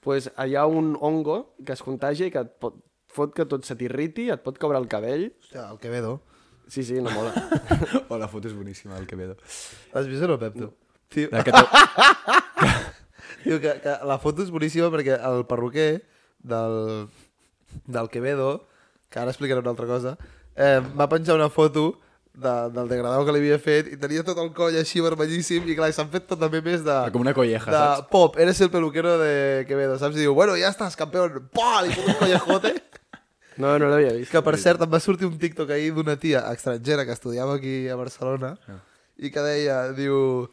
B: pues, hi ha un hongo que es contagia i que et pot, fot que tot se t'irriti, et pot caure el cabell.
E: Hòstia, el Quevedo.
B: Sí, sí, no mola.
A: Oh, la foto és boníssima, del Quevedo.
E: Has vist o no, Pep, tu? Tio,
A: La que te...
E: Diu que, que la foto és boníssima perquè el perruquer del, del Quevedo, que ara explicaré una altra cosa, eh, va penjar una foto de, del degradau que li havia fet i tenia tot el coll així vermellíssim i clar, i s'han fet tot també més de...
A: Ah, Com una colleja,
E: de,
A: saps?
E: Pop, eres el peluquero de Quevedo, saps? I diu, bueno, ja estàs, campeón. Pa, li fot un collejote.
B: No, no l'havia vist.
E: que, per cert, em va sortir un TikTok ahir d'una tia estrangera que estudiava aquí a Barcelona
A: Ah.
E: i que deia, diu,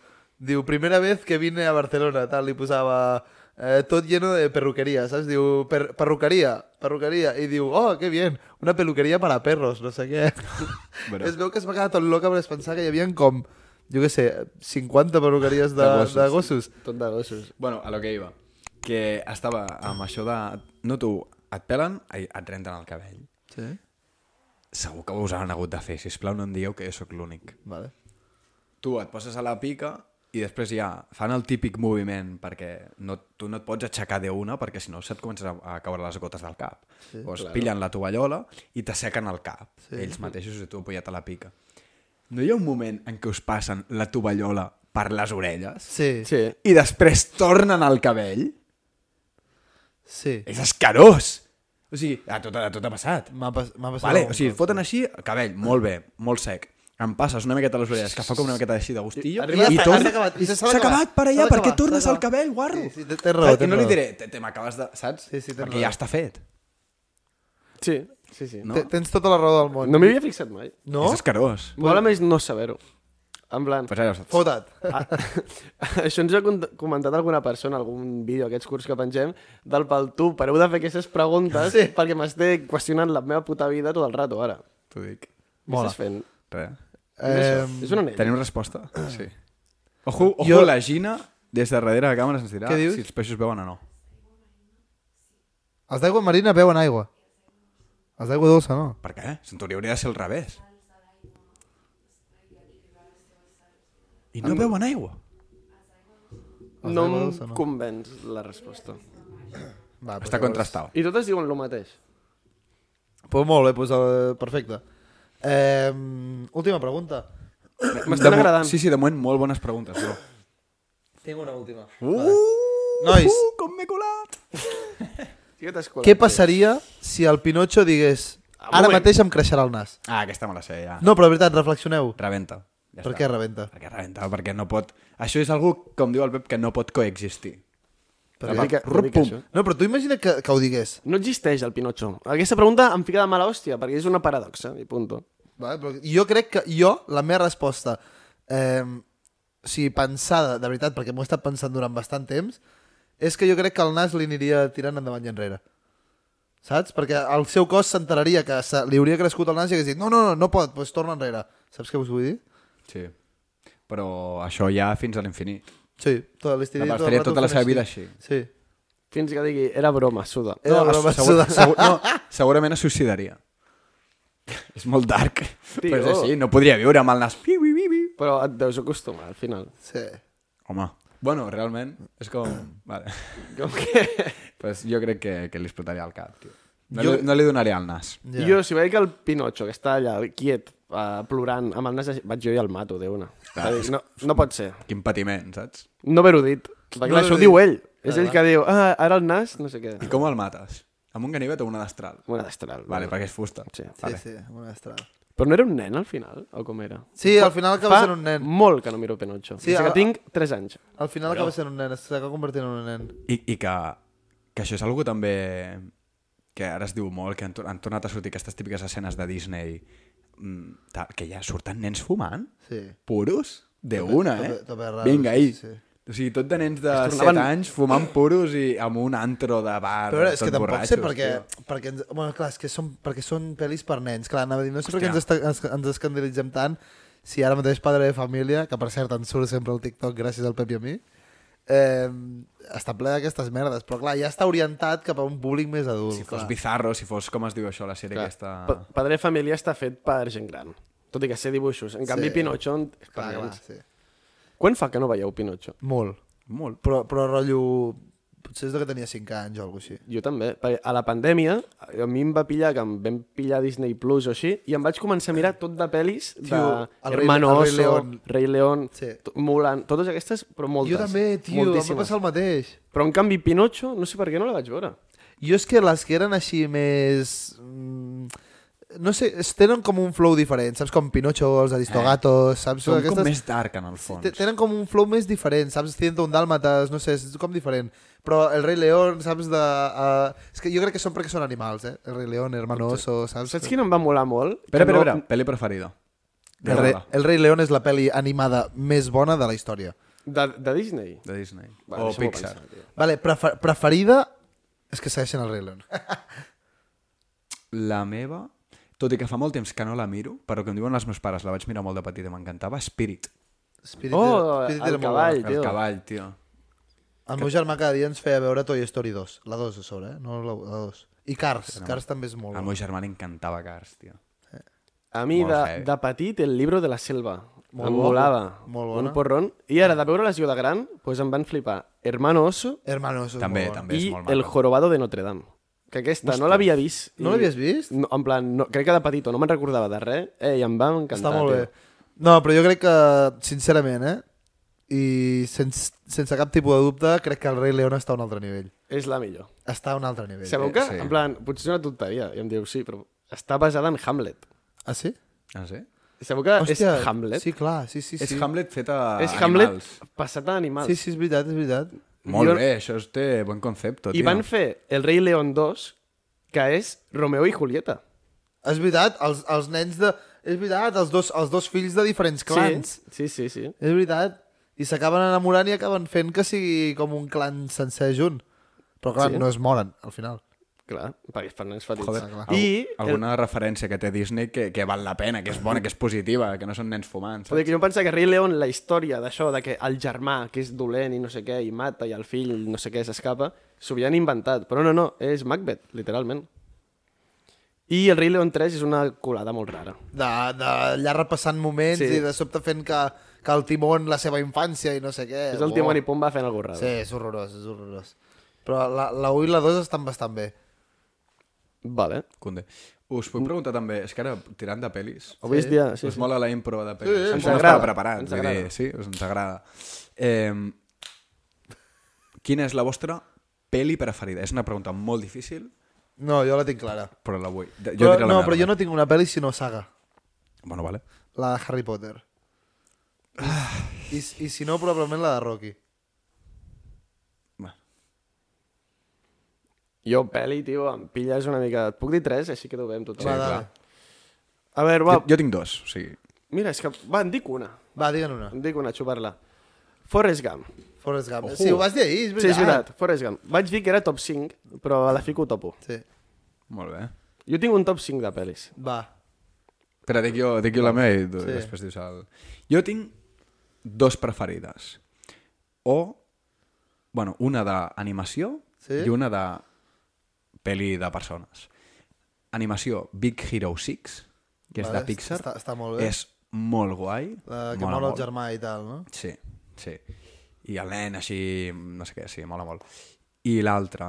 E: diu, primera vez que vine a Barcelona, tal, li posava... Eh, tot lleno de perruquería, ¿sabes? Diu, per perruquería, perruquería. I diu, oh, que bien, una peluquería para perros, no sé què.
A: Bueno.
E: Es veu que es va quedar tot loca perquè es pensava que hi havia com, jo què sé, 50 perruqueries de,
A: De gossos.
E: de gossos.
B: Tot de gossos.
A: Bueno, a lo que iba. Que estava amb això de... No, tu, et pelen i et renten el cabell.
E: Sí.
A: Segur que us han hagut de fer. Sisplau, no em dieu que jo sóc l'únic.
E: Vale.
A: tu et poses a la pica i després ja fan el típic moviment perquè no, tu no et pots aixecar d'una perquè si no se't comencen a, a caure les gotes del cap. Sí, Llavors claro. pillen la tovallola i t'assequen el cap. Sí. Ells mateixos i tu apoyat a la pica. No hi ha un moment en què us passen la tovallola per les orelles
E: Sí, sí.
B: Sí.
A: i després tornen al cabell?
E: sí.
A: És escarós! O sigui, a tot, a tot ha passat.
E: M'ha pas m'ha passat...
A: Vale,
E: algun
A: o sigui, et
E: cop.
A: foten així, cabell, molt bé, molt sec. em passes una miqueta a les orelles, que fa com una miqueta així de gustillo,
B: I arriba-
A: i,
B: s'ha
A: torna...
E: acabat, i se s'ha
A: S'ha acabat
E: acabat,
A: per
E: s'ha
A: allà, per què
E: acabat,
A: tornes
E: s'ha
A: al
E: acabat.
A: cabell, guarro?
E: Sí, sí, té- té raó, té
A: I no li
E: raó.
A: diré, "Te- te m'acabes de... Saps?
E: Sí, sí, té
A: Perquè
E: raó.
A: ja està fet.
B: Sí, sí, sí.
A: No?
E: Te- Tens tota la raó del món.
B: No m'hi havia fixat mai.
E: No?
A: És escarós.
B: Mola més no saber-ho. En plan...
A: Pues ara, saps?
E: Fota't.
B: Ah, això ens ho ha con- comentat alguna persona, algun vídeo, aquests curts que pengem, del pal tu, pareu de fer aquestes preguntes sí. perquè m'esté qüestionant la meva puta vida tot el rato, ara.
A: T'ho dic.
B: Què estàs fent?
A: Res.
B: Eh...
E: Em,
B: És un anell.
A: Tenim resposta? Sí. Ojo, ojo
E: Ah. Jo-
A: jo... la Gina, des de darrere de càmera, ens dirà
E: Què dius?
A: si els peixos veuen o no.
E: Els d'aigua marina beuen aigua. Els d'aigua dolça, no?
A: Per què? Se'n t'hauria hauria de ser al revés. I no veuen aigua.
E: Els
B: No
E: d'aigua
B: em
E: dolça, no.
B: convenç la resposta.
E: Va,
A: Està contrastat.
B: I totes diuen el mateix.
E: Pues molt bé, pues, eh, perfecte. Eh, última pregunta. eh,
A: De
B: M'estan
A: mo-
B: agradant.
A: Sí, sí, de moment molt bones preguntes. Bro.
E: Tinc una última.
A: Uh,
E: Nois.
A: Uh, com m'he colat!
B: Sí que t'has colat,
E: Què
B: sí.
E: passaria si el Pinocho digués
B: Ah,
E: ara
B: moment.
E: mateix em creixerà el nas?
A: Ah, aquesta me la sé, ja.
E: No, però de veritat, reflexioneu.
A: Rebenta. Ja
E: Per
A: està.
E: què rebenta?
A: Perquè rebenta, perquè no pot... Això és algú, com diu el Pep, que no pot coexistir.
E: Per
B: Però
E: què?
B: dic-
E: Rup,
B: dic
E: pum.
B: això.
E: No, però tu imagina que, que ho digués.
B: No existeix el Pinocho. Aquesta pregunta em fica de mala hòstia, perquè és una paradoxa, i punto.
E: Vale? Però jo crec que jo, la meva resposta, eh, si pensada, de veritat, perquè m'ho he estat pensant durant bastant temps, és que jo crec que el nas li aniria tirant endavant i enrere. Saps? Perquè el seu cos s'enteraria que se, li hauria crescut el nas i hagués dit no, no, no, no pot, doncs torna enrere. Saps què us vull dir?
A: Sí. Però això ja fins a l'infinit.
E: Sí, tot, li estaria
A: La
E: tot el
A: pastaria
E: rato
A: tota la
E: fent
A: seva vida així.
E: Sí.
B: Fins que digui, era broma, suda.
E: Era
A: no,
E: broma,
A: segur,
E: suda.
A: segur, no, segurament es suicidaria. És molt dark.
B: Tio.
A: Tio. Però és així, no podria viure amb el nas. Piu, piu, piu, piu.
B: Però et deus acostumar, al final.
E: Sí.
A: Home. Bueno, realment, és com... Vale.
B: Com que...
A: Pues jo crec que, que li explotaria el cap, tio. No,
E: Jo-
A: jo... li, no li donaria el nas.
E: Ja.
B: Yeah. Jo, si veig que el Pinocho, que està allà, quiet, uh, plorant, amb el nas, així, vaig jo i el mato, de una.
E: Ah.
A: Clar,
B: És a dir, No, no pot ser.
A: Quin patiment, saps?
B: No haver-ho dit. Perquè
E: No
B: no això
E: haver-ho
B: ho diu
E: dit.
B: ell. És ell que diu, ah, ara el nas, no sé què.
A: I com el mates? Amb un ganivet o una destral?
B: Una destral.
A: Vale, perquè és fusta.
B: Sí.
E: Sí, vale. sí, una estrada.
B: Però no era un nen, al final? O com era?
E: Sí, al final acaba
B: Fa
E: sent un nen.
B: molt que no miro Pinocho.
E: Sí,
B: Sí, Des
E: ara-
B: que tinc 3 anys.
E: Al final acaba sent un nen, s'acaba convertint en un nen.
A: I, i que, que això és algo també que ara es diu molt, que han, to- han tornat a sortir aquestes típiques escenes de Disney mm, tal, que ja surten nens fumant
E: Sí.
A: puros de una,
E: tot
A: eh?
E: bé- tot bé raro,
A: Vinga,
E: sí,
A: ahir.
E: sí.
A: O sigui, tot de nens de
B: Es
A: 7
B: tornaven-
A: anys fumant puros i amb un antro de bar,
E: Però és
A: tot
E: que tampoc
A: borratxos,
E: sé perquè...
A: tio.
E: perquè ens, bueno, clar, és que són, perquè són pel·lis per nens. Clar, anava a dir, no sé per què ens, esta- ens, ens escandalitzem tant si ara mateix Padre de Família, que per cert ens surt sempre al TikTok gràcies al Pep i a mi, eh, està ple d'aquestes merdes. Però clar, ja està orientat cap a un públic més adult.
A: Si fos
E: clar.
A: bizarro, si fos, com es diu això, la sèrie
B: Clar.
A: aquesta...
B: Pa Padre Família està fet per gent gran. Tot i que sé dibuixos. En canvi,
E: Sí.
B: Pinocho... en-
E: clar, clar,
B: Pinocho.
E: sí.
B: Quan fa que no veieu Pinocho?
E: Molt.
A: Molt.
E: Però, però rotllo... Potser és de que tenia 5 anys o alguna cosa així.
B: Jo també. Perquè a la pandèmia, a mi em va pillar, que em vam pillar Disney Plus o així, i em vaig començar a mirar tot de pel·lis de
E: Tio, el rei-
B: Hermano
E: el rei
B: Oso,
E: León.
B: Rei León,
E: Sí.
B: to- Mulan, totes aquestes, però moltes.
E: Jo també, tio, em va
B: moltíssimes.
E: passar el mateix.
B: Però en canvi Pinocho, no sé per què no la vaig veure.
E: Jo és que les que eren així més... mm, No sé, es tenen com un flow diferent, saps? Com Pinocho, els Aristogatos, eh, saps?
A: Són com més dark, en el fons.
E: Te- Tenen com un flow més diferent, saps? Ciento un dàlmates, no sé, és com diferent. Però el Rei León, saps? De, uh... És que jo crec que són perquè són animals, eh? El Rei León, Hermano Oso, saps?
B: Saps quina em va molar molt?
A: Espera,
B: Que
A: espera,
B: no-
A: espera. Peli preferida.
E: El, rei, el Rei León és la pel·li animada més bona de la història.
B: De, de Disney.
A: De Disney.
B: Vale,
A: o
E: Oh,
B: deixa-m'ho
A: Pixar.
B: pensar, tio.
E: Vale, prefer preferida és que segueixen el Rei León.
A: La meva, tot i que fa molt temps que no la miro, però que em diuen els meus pares, la vaig mirar molt de petit i m'encantava, Spirit,
E: Spirit,
B: Oh,
E: Spirit
B: el
E: era molt
B: cavall.
E: bona.
A: el
B: tio.
A: cavall, tio.
E: El meu germà cada dia ens feia veure Toy Story 2. La 2, a sobre, eh? No la, la 2. I Cars. Cars també és
B: Oh.
E: molt
A: Al
E: bo.
A: meu germà li encantava Cars, tio.
B: A mi,
A: Molt
B: de,
A: heavy.
B: de petit, el llibre de la selva.
E: Molt
B: Molt em
E: bona,
B: molava.
E: molt bona.
B: Un porron. I ara, de veure-la jo de gran, doncs em van flipar Hermano Oso
E: Hermano, això és
A: També,
E: molt bo.
A: també és
B: i
A: molt
B: El
A: maco.
B: Jorobado de Notre Dame. Que aquesta no l'havia vist.
E: No
B: i-
E: l'havies vist?
B: No, en plan, no, crec que de petit o no me'n recordava de res. Eh, i em va encantar.
E: Està molt
B: tio.
E: bé. No, però jo crec que, sincerament, eh? I sense, sense cap tipus de dubte, crec que el Rei León està a un altre nivell.
B: És la millor.
E: Està a un altre nivell.
B: Sabeu que,
A: sí.
B: en plan, potser és una tonteria. I em diu, sí, però està basada en Hamlet.
E: Ah, sí?
A: Ah, sí?
B: Sabeu que
E: Hòstia,
B: és Hamlet?
E: Sí, clar, sí, sí.
A: És
E: sí.
A: Hamlet fet a
B: és Hamlet
A: animals.
B: passat a animals.
E: Sí, sí, és veritat, és veritat.
A: Molt
B: Jo-
A: bé, això es té bon concepte,
B: I
A: tio.
B: van fer El rei León 2, que és Romeo i Julieta.
E: És veritat, els, els nens de... És veritat, els dos, els dos fills de diferents clans.
B: Sí, sí, sí. sí.
E: És veritat. I s'acaben enamorant i acaben fent que sigui com un clan sencer junt. Però clar,
B: Sí.
E: sí. no es moren, al final.
B: Clar, perquè fan nens petits.
A: Joder,
B: I
A: I alguna el... referència que té Disney que, que val la pena, que és bona, que és positiva, que no són nens fumants.
B: Perquè jo em pensava que Rei León, la història d'això, de que el germà, que és dolent i no sé què, i mata, i el fill no sé què s'escapa, s'ho havien inventat. Però no, no, és Macbeth, literalment. I el Rei León 3 és una colada molt rara.
E: De, de allà repassant moments
B: Sí.
E: sí. i de sobte fent que, que el Timon, la seva infància i no sé què.
B: és el
E: Uau.
B: Timon i Pumba fent alguna cosa
E: Sí,
B: rara.
E: és horrorós, és horrorós. Però la, la 1 i la 2 estan bastant bé.
B: Vale.
A: Cunde. Us puc preguntar també, és que ara tirant de pel·lis,
B: Avui sí. dia...
A: sí,
B: Sí,
A: us
B: sí.
A: mola la impro de pel·lis.
E: Sí,
A: Sí,
E: sí,
A: ens
B: ens
A: agrada.
B: agrada,
A: preparat,
B: ens
A: ens agrada. Dir,
B: agrada.
A: sí, us ens agrada. Eh, quina és la vostra peli preferida? És una pregunta molt difícil,
E: No, jo la tinc clara.
A: però la vull. De- Jo
E: Però,
A: diré la
E: no,
A: meva
E: però jo
A: primer.
E: no tinc una pel·li sinó saga.
A: Bueno, vale.
E: La de Harry Potter. I, I si no, probablement la de Rocky.
A: Bueno.
B: Jo, peli, tio, em pilles una mica... Et puc dir tres, així quedo bé amb tothom.
E: Va,
A: clar.
E: dale.
B: A veure, va,
A: Jo, jo tinc dos, o sigui...
B: mira, és que... Va, en dic una.
E: Va, digue'n una.
B: Em dic una, xupar-la. Forrest Gump.
E: Forrest Gump. Sí, ho vas dir ahir, és
B: Sí,
E: veritat.
B: és veritat, Forrest Gump. Vaig dir que era top 5, però a la fico top 1.
E: Sí.
A: Molt bé.
B: Jo tinc un top 5 de pel·lis.
E: Va.
A: Espera, dic jo, dic jo la meva i tu, sí. després dius el... Jo tinc dos preferides. O, bueno, una d'animació
E: Sí?
A: i una de pel·li de persones. Animació Big Hero 6, que és
E: Vale,
A: de Pixar.
E: està- està molt bé.
A: És molt guai.
E: La que
A: mola
E: mola el
A: molt.
E: germà i tal, no?
A: Sí, sí. I el nen així, no sé què, sí, mola molt. I l'altra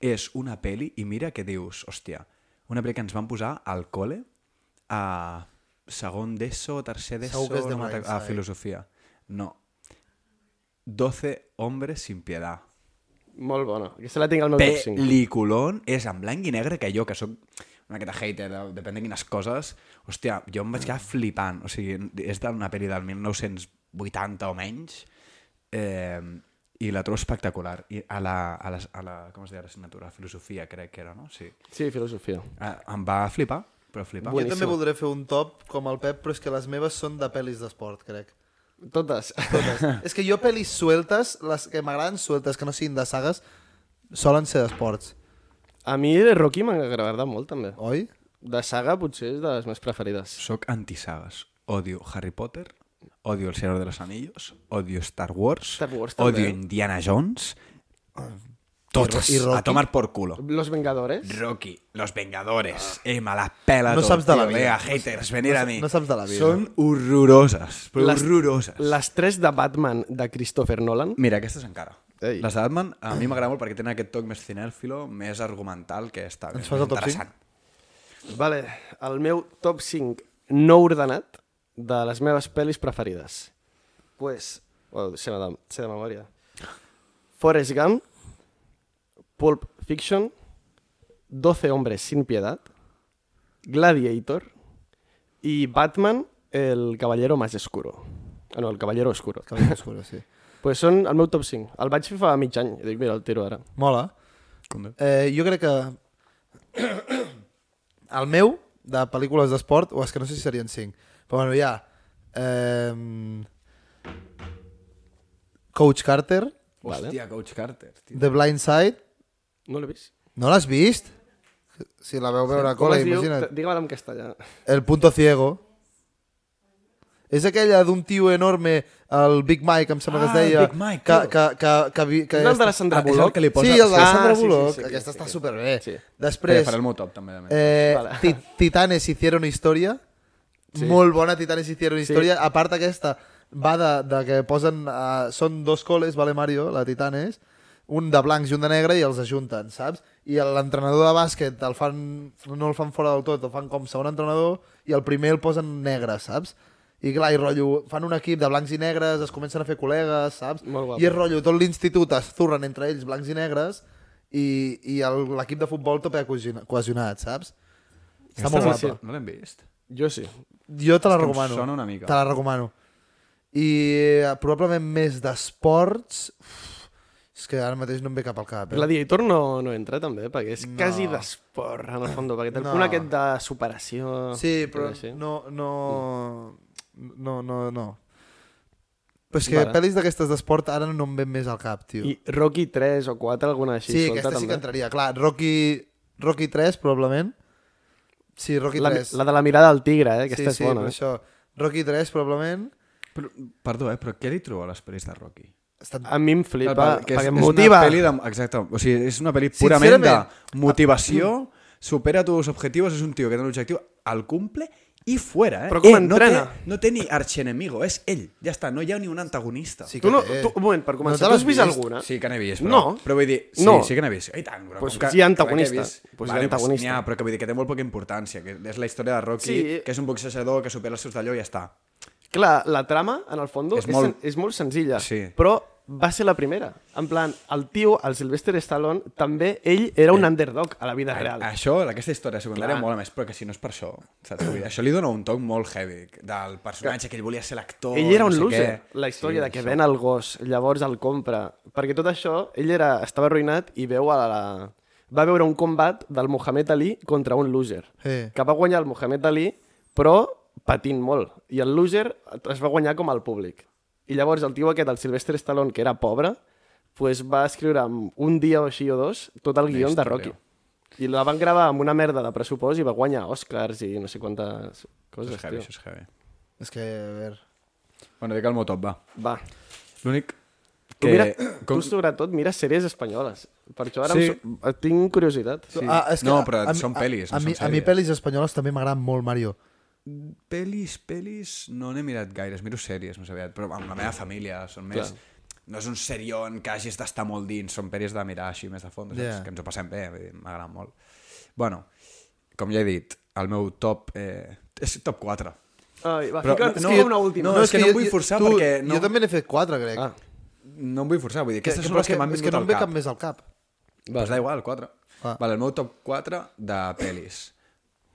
A: és una peli i mira que dius, hòstia, una peli que ens van posar al col·le a segon d'ESO, tercer d'ESO,
E: Segur que és
A: no
E: de
A: me'n rec- a
E: Blindside.
A: filosofia. No. 12 hombres sin piedad.
B: Molt bona. Aquesta la tinc al meu top 5.
A: Peliculón és en blanc i negre que jo, que sóc una miqueta hater, de- depèn de quines coses, hòstia, jo em vaig quedar flipant. O sigui, és d'una pel·li del 1980 o menys, eh, i la trobo espectacular. I a la, a la, a la com es deia, l'assignatura? Filosofia, crec que era, no? Sí.
B: Sí, filosofia.
A: Eh, em va flipar, però flipar.
E: Jo també voldré fer un top com el Pep, però és que les meves són de pel·lis d'esport, crec.
B: Totes.
E: Totes. és que jo pel·lis sueltes, les que m'agraden sueltes, que no siguin de sagues, solen ser d'esports,
B: A mi el Rocky m'ha agradat molt, també.
E: oi?
B: De saga potser és de les més preferides.
A: Soc antisagues. Odio Harry Potter, odio El Señor de los Anillos, odio Star Wars,
B: Star Wars també.
A: odio Indiana Jones, totes,
E: I Rocky?
A: a tomar por culo.
B: Los Vengadores?
A: Rocky, Los Vengadores, Emma, la pela
E: Ah. No
A: tot,
E: saps de la
A: tio, Vinga,
E: vida.
A: haters, venir a mi.
E: no saps de la vida.
A: Són horroroses, però les, horroroses.
B: Les tres de Batman de Christopher Nolan?
A: Mira, aquestes encara.
B: Ei.
A: Les d'Atman a mi m'agrada molt perquè tenen aquest toc més cinèfilo, més argumental, que està bé.
E: Ens fas el top
A: interessant.
B: Vale, el meu top 5 no ordenat de les meves pel·lis preferides. Pues, well, sé, de, sé de memòria. Forrest Gump, Pulp Fiction, 12 hombres sin piedad, Gladiator i Batman, el caballero más oscuro. Ah, no, el caballero oscuro.
E: Cabells oscurs, sí.
B: Pues són el meu top 5. El vaig fer fa mig any. I dic, mira, el tiro ara.
E: Mola.
A: Conde.
E: Eh, jo crec que... El meu, de pel·lícules d'esport, o és que no sé si serien 5, però bueno, hi ha... Eh, Coach Carter,
B: Vale.
A: Hòstia, Coach Carter, tio.
E: The Blind Side...
B: No l'he vist.
E: No l'has vist? Si la veu veure a cola,
B: es diu?
E: imagina't.
B: Digue-me'l en castellà.
E: El punto ciego. És aquella d'un tio enorme, el Big Mike, em
A: Ah,
E: sembla que es deia.
A: el Big Mike,
E: que,
A: tio.
E: que, que, que, vi- que
B: És el de la Sandra
A: Ah, és el
B: Bullock?
A: que li posa-
E: Sí, el de la
B: Ah,
E: Sandra
B: sí, sí,
E: Bullock.
B: sí, sí,
E: Aquesta
B: sí,
E: està
B: sí.
E: superbé.
B: Sí.
A: Espera,
E: Després,
A: faré el meu top, també. també.
E: eh,
B: Vale.
E: ti Titanes hicieron historia. Molt bona Titanes hicieron historia. A part aquesta, va de, de que posen... Uh, són dos coles, vale Mario, la Titanes, un de blancs i un de negre i els ajunten, saps? I l'entrenador de bàsquet el fan, no el fan fora del tot, el fan com segon entrenador i el primer el posen negre, saps? I clar, i rotllo, fan un equip de blancs i negres, es comencen a fer col·legues, saps?
B: Molt guapo.
E: I és rotllo, tot l'institut es zurren entre ells blancs i negres i, i el- l'equip de futbol tope cohesionat, saps? Està
A: Aquesta no
E: molt
A: l'he-
E: guapa.
A: No l'hem vist?
B: Jo sí.
E: Jo te la
A: És que em
E: recomano.
A: sona una mica.
E: Te la recomano. I eh, probablement més d'esports... Uf, És que ara mateix no em ve cap al cap. Eh?
B: Gladiator no, no entra, també, perquè és no. quasi d'esport, en el fons, perquè té
E: No.
B: no. un aquest de superació...
E: Sí, però
B: tot així.
E: no... No, no, no. no. Però és que
B: Vale.
E: vale. pel·lis d'aquestes d'esport ara no em ven més al cap, tio.
B: I Rocky 3 o 4, alguna així
E: Sí,
B: solta,
E: aquesta sí que
B: també.
E: entraria. Clar, Rocky, Rocky 3, probablement. Sí, Rocky
B: La,
E: 3.
B: la de la mirada del tigre, eh? Aquesta
E: sí, sí,
B: és bona.
E: per
B: eh?
E: això. Rocky 3, probablement.
A: Però, perdó, eh, però què li trobo a les pel·lis de Rocky?
E: Ha estat...
B: A mi em
A: Clar,
B: flipa,
A: per- que
B: perquè em
A: és
B: motiva.
A: Una peli de, exacte, o sigui, és una pel·li purament de
E: Sincerament,
A: motivació, supera tus objectius, és un tio que té un objectiu, el cumple i fuera, eh?
B: Però com
A: eh, no, té,
B: entrena?
A: no té ni archenemigo, és ell. Ja està, no hi ha ni un antagonista.
E: Sí que
B: Tu no,
E: té.
B: tu, un moment, per començar,
E: te
B: tu
E: l'has
B: has vist,
E: vist?
B: alguna?
A: Sí que n'he vist, però,
B: No.
A: però vull dir, sí,
B: No.
A: sí que n'he vist. I tant, però
B: Pues
A: com que,
B: sí,
A: com
B: antagonista.
A: que he vist-
B: Pues sí, antagonista.
A: n'hi ha, però que vull dir que té molt poca importància, que és la història de Rocky,
B: Sí.
A: que és un boxejador que supera els seus d'allò i ja està.
B: Clar, la trama, en el fons,
A: És
B: és, és,
A: molt-
B: molt... és molt senzilla,
A: Sí.
B: però va ser la primera. En plan, el tio, el Sylvester Stallone, també ell era
A: Eh,
B: un underdog a la vida real.
A: Això, aquesta història secundària, mola més, però que si no és per això, saps? Vull dir, això li dona un toc molt heavy, del personatge que ell volia ser l'actor,
B: Ell era
A: Doncs no
B: un
A: sé
B: loser,
A: què.
B: la història sí, de que ven el gos, llavors el compra. Perquè tot això, ell era, estava arruïnat i veu a la... va veure un combat del Mohamed Ali contra un loser.
E: Sí.
B: Que va guanyar el Mohamed Ali, però patint molt. I el loser es va guanyar com al públic. I llavors el tio aquest, el Sylvester Stallone, que era pobre, pues va escriure en un dia o així o dos tot el guion de
A: història.
B: Rocky. I la van gravar amb una merda de pressupost i va guanyar Oscars i no sé quantes
A: Això
B: coses,
A: és heavy,
B: tio.
A: això és heavy.
E: És que, a veure...
A: Bueno, dic el motop, va.
B: Va,
A: L'únic
B: Que...
A: que...
B: Mira, com...
A: com-
B: Tu sobretot mires sèries espanyoles. Per això ara
A: Sí.
B: sí. em... so- tinc curiositat.
A: Sí.
B: Sí.
E: Ah, és que
A: No, però
E: mi-
A: són pel·lis, no
E: a, mi,
A: són
E: a mi
A: sèries.
E: pel·lis espanyoles també m'agraden molt, Mario.
A: Pelis, pelis, no n'he mirat gaire, miro sèries més aviat, però amb la meva família són més... No és un serion que hagis d'estar molt dins, són pel·lis de mirar així més de fons, yeah.
E: Yeah.
A: que ens ho passem bé, vull dir, m'agrada molt. Bueno, com ja he dit, el meu top... Eh, és top 4.
B: Ah, Ai, va,
A: Però-
B: fica,
A: no,
B: no, fica una última.
A: no, és que
E: jo-
A: vull
E: jo-
A: forçar
E: tu,
A: perquè no-
E: Jo també n'he fet quatre, crec.
B: Ah,
A: No em vull forçar, vull dir, aquestes
E: Que-
A: que, són
E: però
A: les que,
E: és
A: m'han
E: és que
A: vingut
E: no
A: al
E: em ve
A: cap.
E: cap més al cap.
A: Pues da igual, 4.
E: Ah.
A: Vale, el meu top 4 de pelis.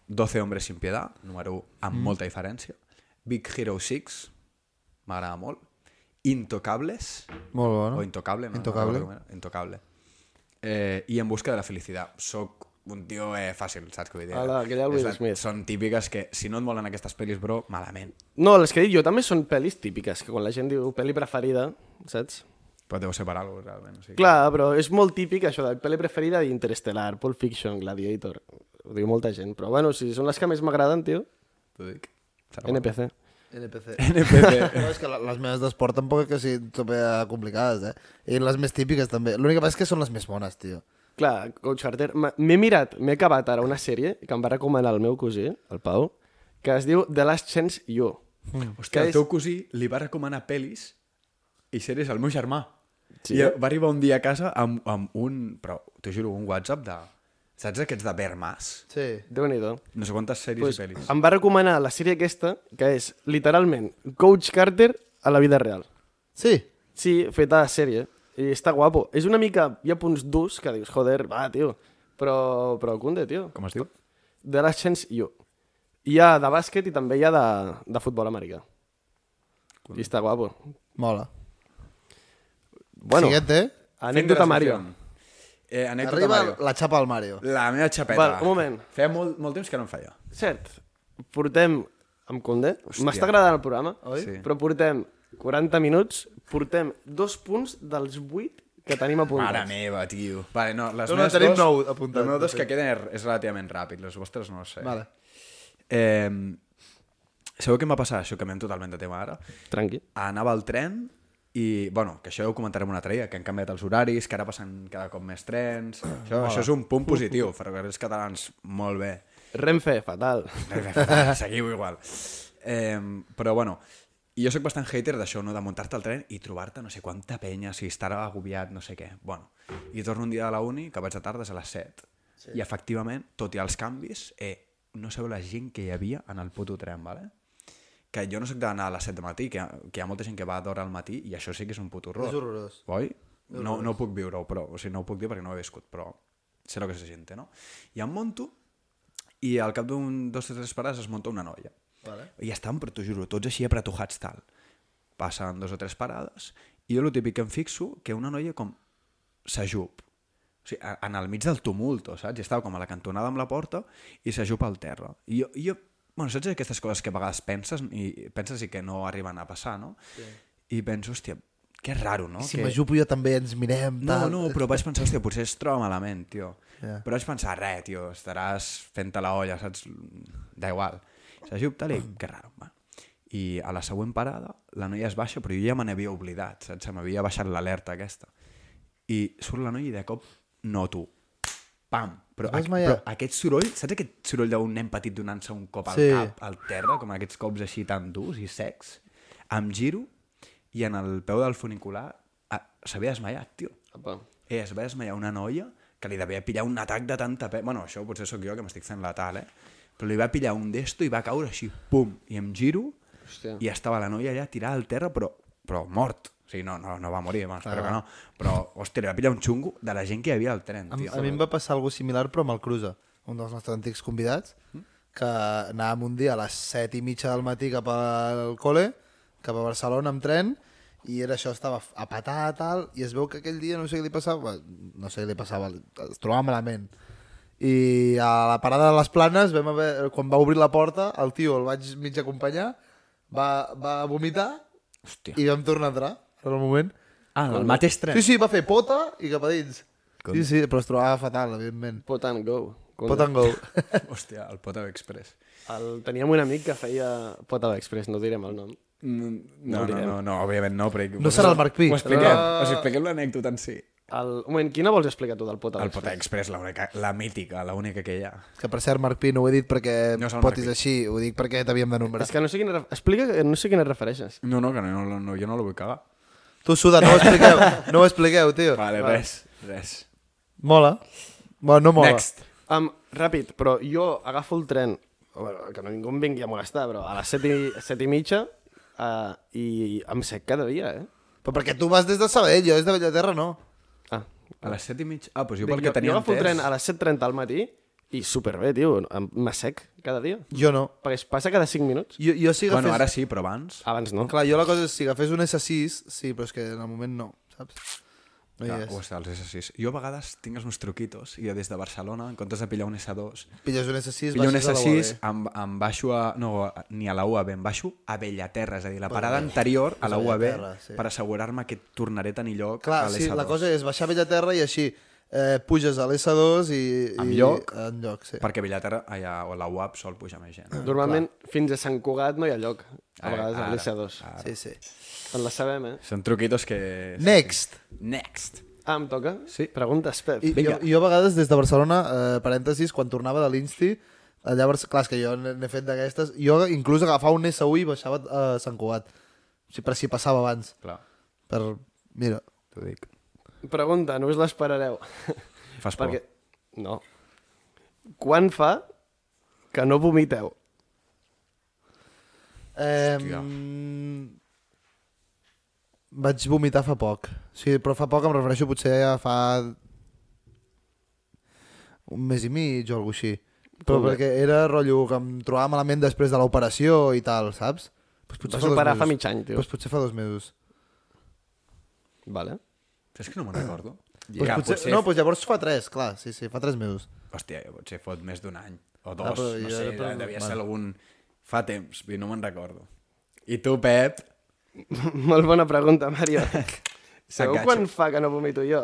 A: 12 hombres sin piedad, número 1,
E: Mm.
A: amb molta diferència. Big Hero 6, m'agrada molt. Intocables,
E: Molt bo,
A: o Intocable, no? No,
E: Intocable.
A: recordo com era. intocable. Eh, I En busca de la felicitat. Soc un tio eh, fàcil, saps què vull dir?
B: Ala, aquella del
A: És
B: Will Smith.
A: Són típiques que, si no et molen aquestes pel·lis, bro, malament.
B: no, les que he dit jo també són pel·lis típiques, que quan la gent diu pel·li preferida, saps?
A: Però deu ser per alguna cosa, realment. O sigui,
B: Clar, però és molt típic això de pel·li preferida d'Interestelar, Pulp Fiction, Gladiator. Ho diu molta gent, però bueno, si són les que més m'agraden, tio, E
A: T'ho dic. Serà guapo.
B: NPC.
E: NPC.
A: NPC.
E: No, és que la- les meves d'esport tampoc és que siguin tope complicades, eh? I les més típiques també. L'únic que passa és que són les més bones, tio.
B: Clar, Coach Carter, m'ha- m'he mirat, m'he acabat ara una sèrie que em va recomanar el meu cosí, el Pau, que es diu The Last Chance You.
A: Hòstia,
B: Que
A: el
B: és-
A: teu cosí li va recomanar pel·lis i sèries al meu germà.
B: Sí?
A: Sí. I va arribar un dia a casa amb, amb un, però t'ho juro, un WhatsApp de... Saps aquests de Bermas?
E: Sí.
B: Déu-n'hi-do.
A: No sé quantes sèries
B: pues, ah,
A: i pel·lis.
B: em va recomanar la sèrie aquesta, que és literalment Coach Carter a la vida real.
E: Sí.
B: Sí, feta a sèrie. I està guapo. És una mica... Hi ha punts durs que dius, joder, va, tio. Però, però cunde, tio.
A: Com es diu?
B: De la Chance You. Hi ha de bàsquet i també hi ha de, de futbol americà. I està guapo.
E: Mola.
B: Bueno,
E: Siguiente, eh?
B: anècdota Mario.
A: Eh, anècdota
E: Arriba
A: Mario.
E: la xapa al Mario.
A: La meva xapeta.
B: Val, un moment.
A: Feia molt, molt temps que no em feia.
B: Cert, portem amb Condé, m'està agradant el programa,
E: Oi?
A: Sí.
B: però portem 40 minuts, portem dos punts dels 8 que tenim apuntats.
A: Mare meva, tio. Vale, no, les
E: No, no,
A: meves
E: tenim
A: dos,
E: nou apuntat,
A: Les meves dos
E: de
A: que
E: fet.
A: queden és- és relativament ràpid, les vostres no ho sé.
E: Vale.
A: Eh, sabeu què em va passar? Això canviem totalment de tema ara.
B: Tranqui.
A: anava al tren i, bueno, que això ja ho comentarem una altra dia, que han canviat els horaris, que ara passen cada cop més trens... Això, això és un punt positiu, ferrocarrils catalans, molt bé.
B: Renfe, fatal.
A: Seguiu igual. Eh, però, bueno, i jo sóc bastant hater d'això, no? de muntar-te al tren i trobar-te no sé quanta penya, si estar agobiat, no sé què. Bueno, i torno un dia a la uni, que vaig de tardes a les 7. Sí. I, efectivament, tot i els canvis, eh, no sabeu la gent que hi havia en el puto tren, ¿vale? que jo no sóc d'anar a les 7 del matí, que, que hi ha molta gent que va d'hora al matí i això sí que és un puto horror.
E: És horrorós.
A: Oi? No, no puc viure-ho, però... O sigui, no ho puc dir perquè no ho he viscut, però sé el que se siente, no? I em monto I al cap d'un dos o tres parades es munta una noia. Vale. I estan, però t'ho juro, tots així apretujats tal. Passen dos o tres parades i jo el típic que em fixo que una noia com s'ajup. O sigui, a- en el mig del tumulto, saps? I estava com a la cantonada amb la porta i s'ajupa al terra. I jo, i jo bueno, saps aquestes coses que a vegades penses i penses i que no arriben a passar, no? Sí. I penso, hòstia, que raro, no?
E: Si
A: que...
E: m'ajupo jo també ens mirem,
A: No,
E: tal.
A: no, però vaig pensar, hòstia, potser es troba malament, tio.
E: Ja.
A: Yeah. Però vaig pensar, re, tio, estaràs fent-te la olla, saps? Da igual. S'ajup tal i
E: Mm.
A: que raro, va. I a la següent parada la noia es baixa, però jo ja me n'havia oblidat, saps? Se m'havia baixat l'alerta aquesta. I surt la noia i de cop noto. Pam! Però,
E: Es va
A: aqu
E: esmaiar.
A: però aquest soroll, saps aquest soroll d'un nen petit donant-se un cop al
E: Sí.
A: cap, al terra, com aquests cops així tan durs i secs? Em giro i en el peu del funicular ah, s'havia desmaiat, tio.
B: Apa.
A: Eh, es va desmaiar una noia que li devia pillar un atac de tanta pena. Bueno, això potser sóc jo que m'estic fent la tal, eh? Però li va pillar un d'esto i va caure així, pum, i em giro
B: Hòstia.
A: i estava la noia allà tirada al terra, però, però mort. O sigui, no, no, no va morir, bueno, espero que no. Però, hòstia, li va pillar un xungo de la gent que hi havia al tren,
E: A,
A: tio.
E: a mi em va passar alguna similar, però amb el Cruza, un dels nostres antics convidats, que anàvem un dia a les 7 i mitja del matí cap al col·le, cap a Barcelona amb tren, i era això, estava a patar, tal, i es veu que aquell dia, no sé què li passava, no sé què li passava, es trobava malament. I a la parada de les planes, vam haver, quan va obrir la porta, el tio el vaig mig acompanyar, va, va vomitar
A: Hòstia.
E: i vam tornar a entrar, en el moment.
A: Ah, el mateix tren.
E: Sí, sí, va fer pota i cap a dins. Sí, sí, però es trobava fatal, evidentment.
B: Pot and go. Com-
E: Pot and go.
A: Hòstia, el Potau Express.
B: El... Teníem un amic que feia Potado Express, no direm el nom.
A: No, Mm, no, no, no, no òbviament no, però...
E: No serà el Marc Pi.
A: Ho expliquem, uh... o sigui, expliquem l'anècdota en si.
B: El... Un moment, quina vols explicar tu del Potado
A: El Potau Express, la, única, la mítica, la única que hi ha.
E: Que per cert, Marc Pi, no ho he dit perquè
A: No
E: no
A: és el
E: potis
A: Marc Pi.
E: així, ho dic perquè t'havíem de nombrar.
B: És que no sé quina... ref- Explica, que no sé quina et refereixes.
A: No, no, que no, no, no, jo no la vull cagar.
E: Tu, Suda, no ho expliqueu, no ho expliqueu, tio.
A: Vale, vale. res, res.
E: Mola. Bueno, no mola.
A: Next.
B: Um, ràpid, però jo agafo el tren, bueno, que no ningú em vingui a molestar, però a les set i, set i mitja uh, i em sec cada dia, eh?
E: Però perquè tu vas des de Sabadell, jo des de Bellaterra no.
B: Ah,
A: A les 7 i mig... Ah, doncs jo
B: Dic,
A: pel que
B: jo
A: tenia
B: agafo el
A: entès...
B: tren a les 7.30 al matí i superbé, tio, em- m'assec cada dia.
E: Jo no.
B: Perquè es passa cada 5 minuts.
E: Jo, jo si agafés...
A: Bueno, ara sí, però abans...
E: Ah,
B: Abans no.
E: Clar, jo la cosa és, si agafés un S6, sí, però és que en el moment no, saps? No hi
A: Ah,
E: és.
A: o està, els S6. Jo a vegades tinc els meus truquitos i des de Barcelona, en comptes de pillar un S2,
E: Pilles un S6,
A: pillo un
E: baixes a la
A: S6,
E: UAB.
A: em, em baixo a... No, a- ni a la UAB, em baixo a Bellaterra, és a dir, la parada anterior a la
E: és a
A: UAB
E: Bellaterra, sí.
A: per assegurar-me que tornaré a tenir lloc
E: Clar,
A: a l'S2.
E: sí, la cosa és baixar a Bellaterra i així eh, puges a l'S2 i...
A: En
E: i-
A: lloc.
E: En lloc, sí.
A: Perquè a Bellaterra allà, o a la UAB sol pujar més
E: Ah.
A: gent.
B: Normalment, fins a Sant Cugat no hi ha lloc. A
A: Ara,
B: vegades a
A: Eh, ara,
B: l'EC2.
E: Sí, sí.
B: En la sabem, eh?
A: Són truquitos que...
E: Next.
A: Next.
B: Ah, em toca?
A: Sí.
B: Preguntes, Pep.
E: I, jo,
A: Vinga.
E: jo a vegades des de Barcelona, eh, parèntesis, quan tornava de l'Insti, allà, a Barce- clar, és que jo n'he n'he fet d'aquestes, jo inclús agafava un SU i baixava eh, a Sant Cugat, si, per si passava abans.
A: Clar,
E: Per, mira,
A: t'ho dic.
B: Pregunta, no us l'esperareu.
A: Fas por.
B: Perquè... No. Quan fa que no vomiteu?
E: eh,
A: Hòstia.
E: vaig vomitar fa poc, sí, però fa poc em refereixo potser a fa un mes i mig o alguna així. Però
B: Molt bé.
E: perquè era rotllo que em trobava malament després de l'operació i tal, saps? Pues
B: Vas
E: dos
B: operar fa
E: mesos.
B: mig any, tio.
E: Pues potser fa dos mesos.
B: Vale.
A: Saps que no me'n recordo?
E: Pues Doncs potser, potser... No, pues llavors fa 3, clar, sí, sí, fa 3 mesos.
A: Hòstia, potser fot més d'un any. O dos,
E: Ah, però
A: no
E: jo
A: sé,
E: era per-
A: devia
E: bueno.
A: ser algun... Fa temps, vull dir, no me'n recordo. I tu, Pep,
B: Molt bona pregunta, Mario. Sabeu
A: Enganxa.
B: quan fa que no vomito jo?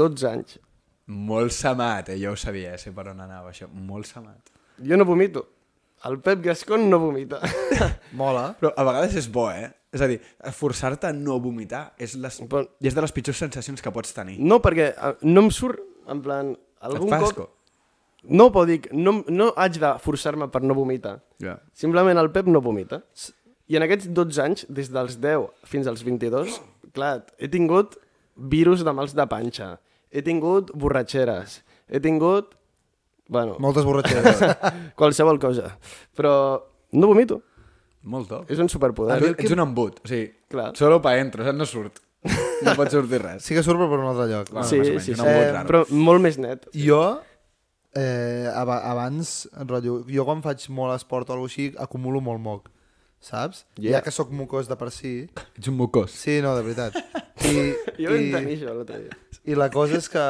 B: 12 anys.
A: molt samat, eh? Jo ho sabia, eh? sé per on anava això. Molt samat.
B: Jo no vomito. El Pep Gascon no vomita.
E: Mola.
A: Però a vegades és bo, eh? És a dir, forçar-te a no vomitar és, les...
B: Però-
A: i és de les pitjors sensacions que pots tenir.
B: No, perquè eh, no em surt, en plan, algun
A: Et fa
B: cop...
A: asco.
B: No, però dic, no, em- no haig de forçar-me per no vomitar.
A: Ja.
B: Simplement el Pep no vomita. I en aquests 12 anys, des dels 10 fins als 22, clar, he tingut virus de mals de panxa, he tingut borratxeres, he tingut... Bueno,
E: Moltes borratxeres.
B: qualsevol cosa. Però no vomito.
A: Molt top.
B: És un superpoder.
A: Tu ets un embut, o sigui,
B: Clar.
A: solo pa entro, saps? No surt. No pot sortir res.
E: sí que surt, però per un altre lloc.
A: Clar.
E: Sí.
B: sí,
A: més o menys,
B: sí,
A: un
B: sí.
A: embut raro.
B: però molt més net.
E: Jo, eh, ab abans, rotllo, jo quan faig molt esport o alguna així, acumulo molt moc, saps?
B: Yeah.
E: Yeah. Ja que sóc mocós de per si.
A: Ets un mocós.
E: Sí, no, de veritat. I,
B: Jo vam tenir això l'altre dia.
E: I la cosa és que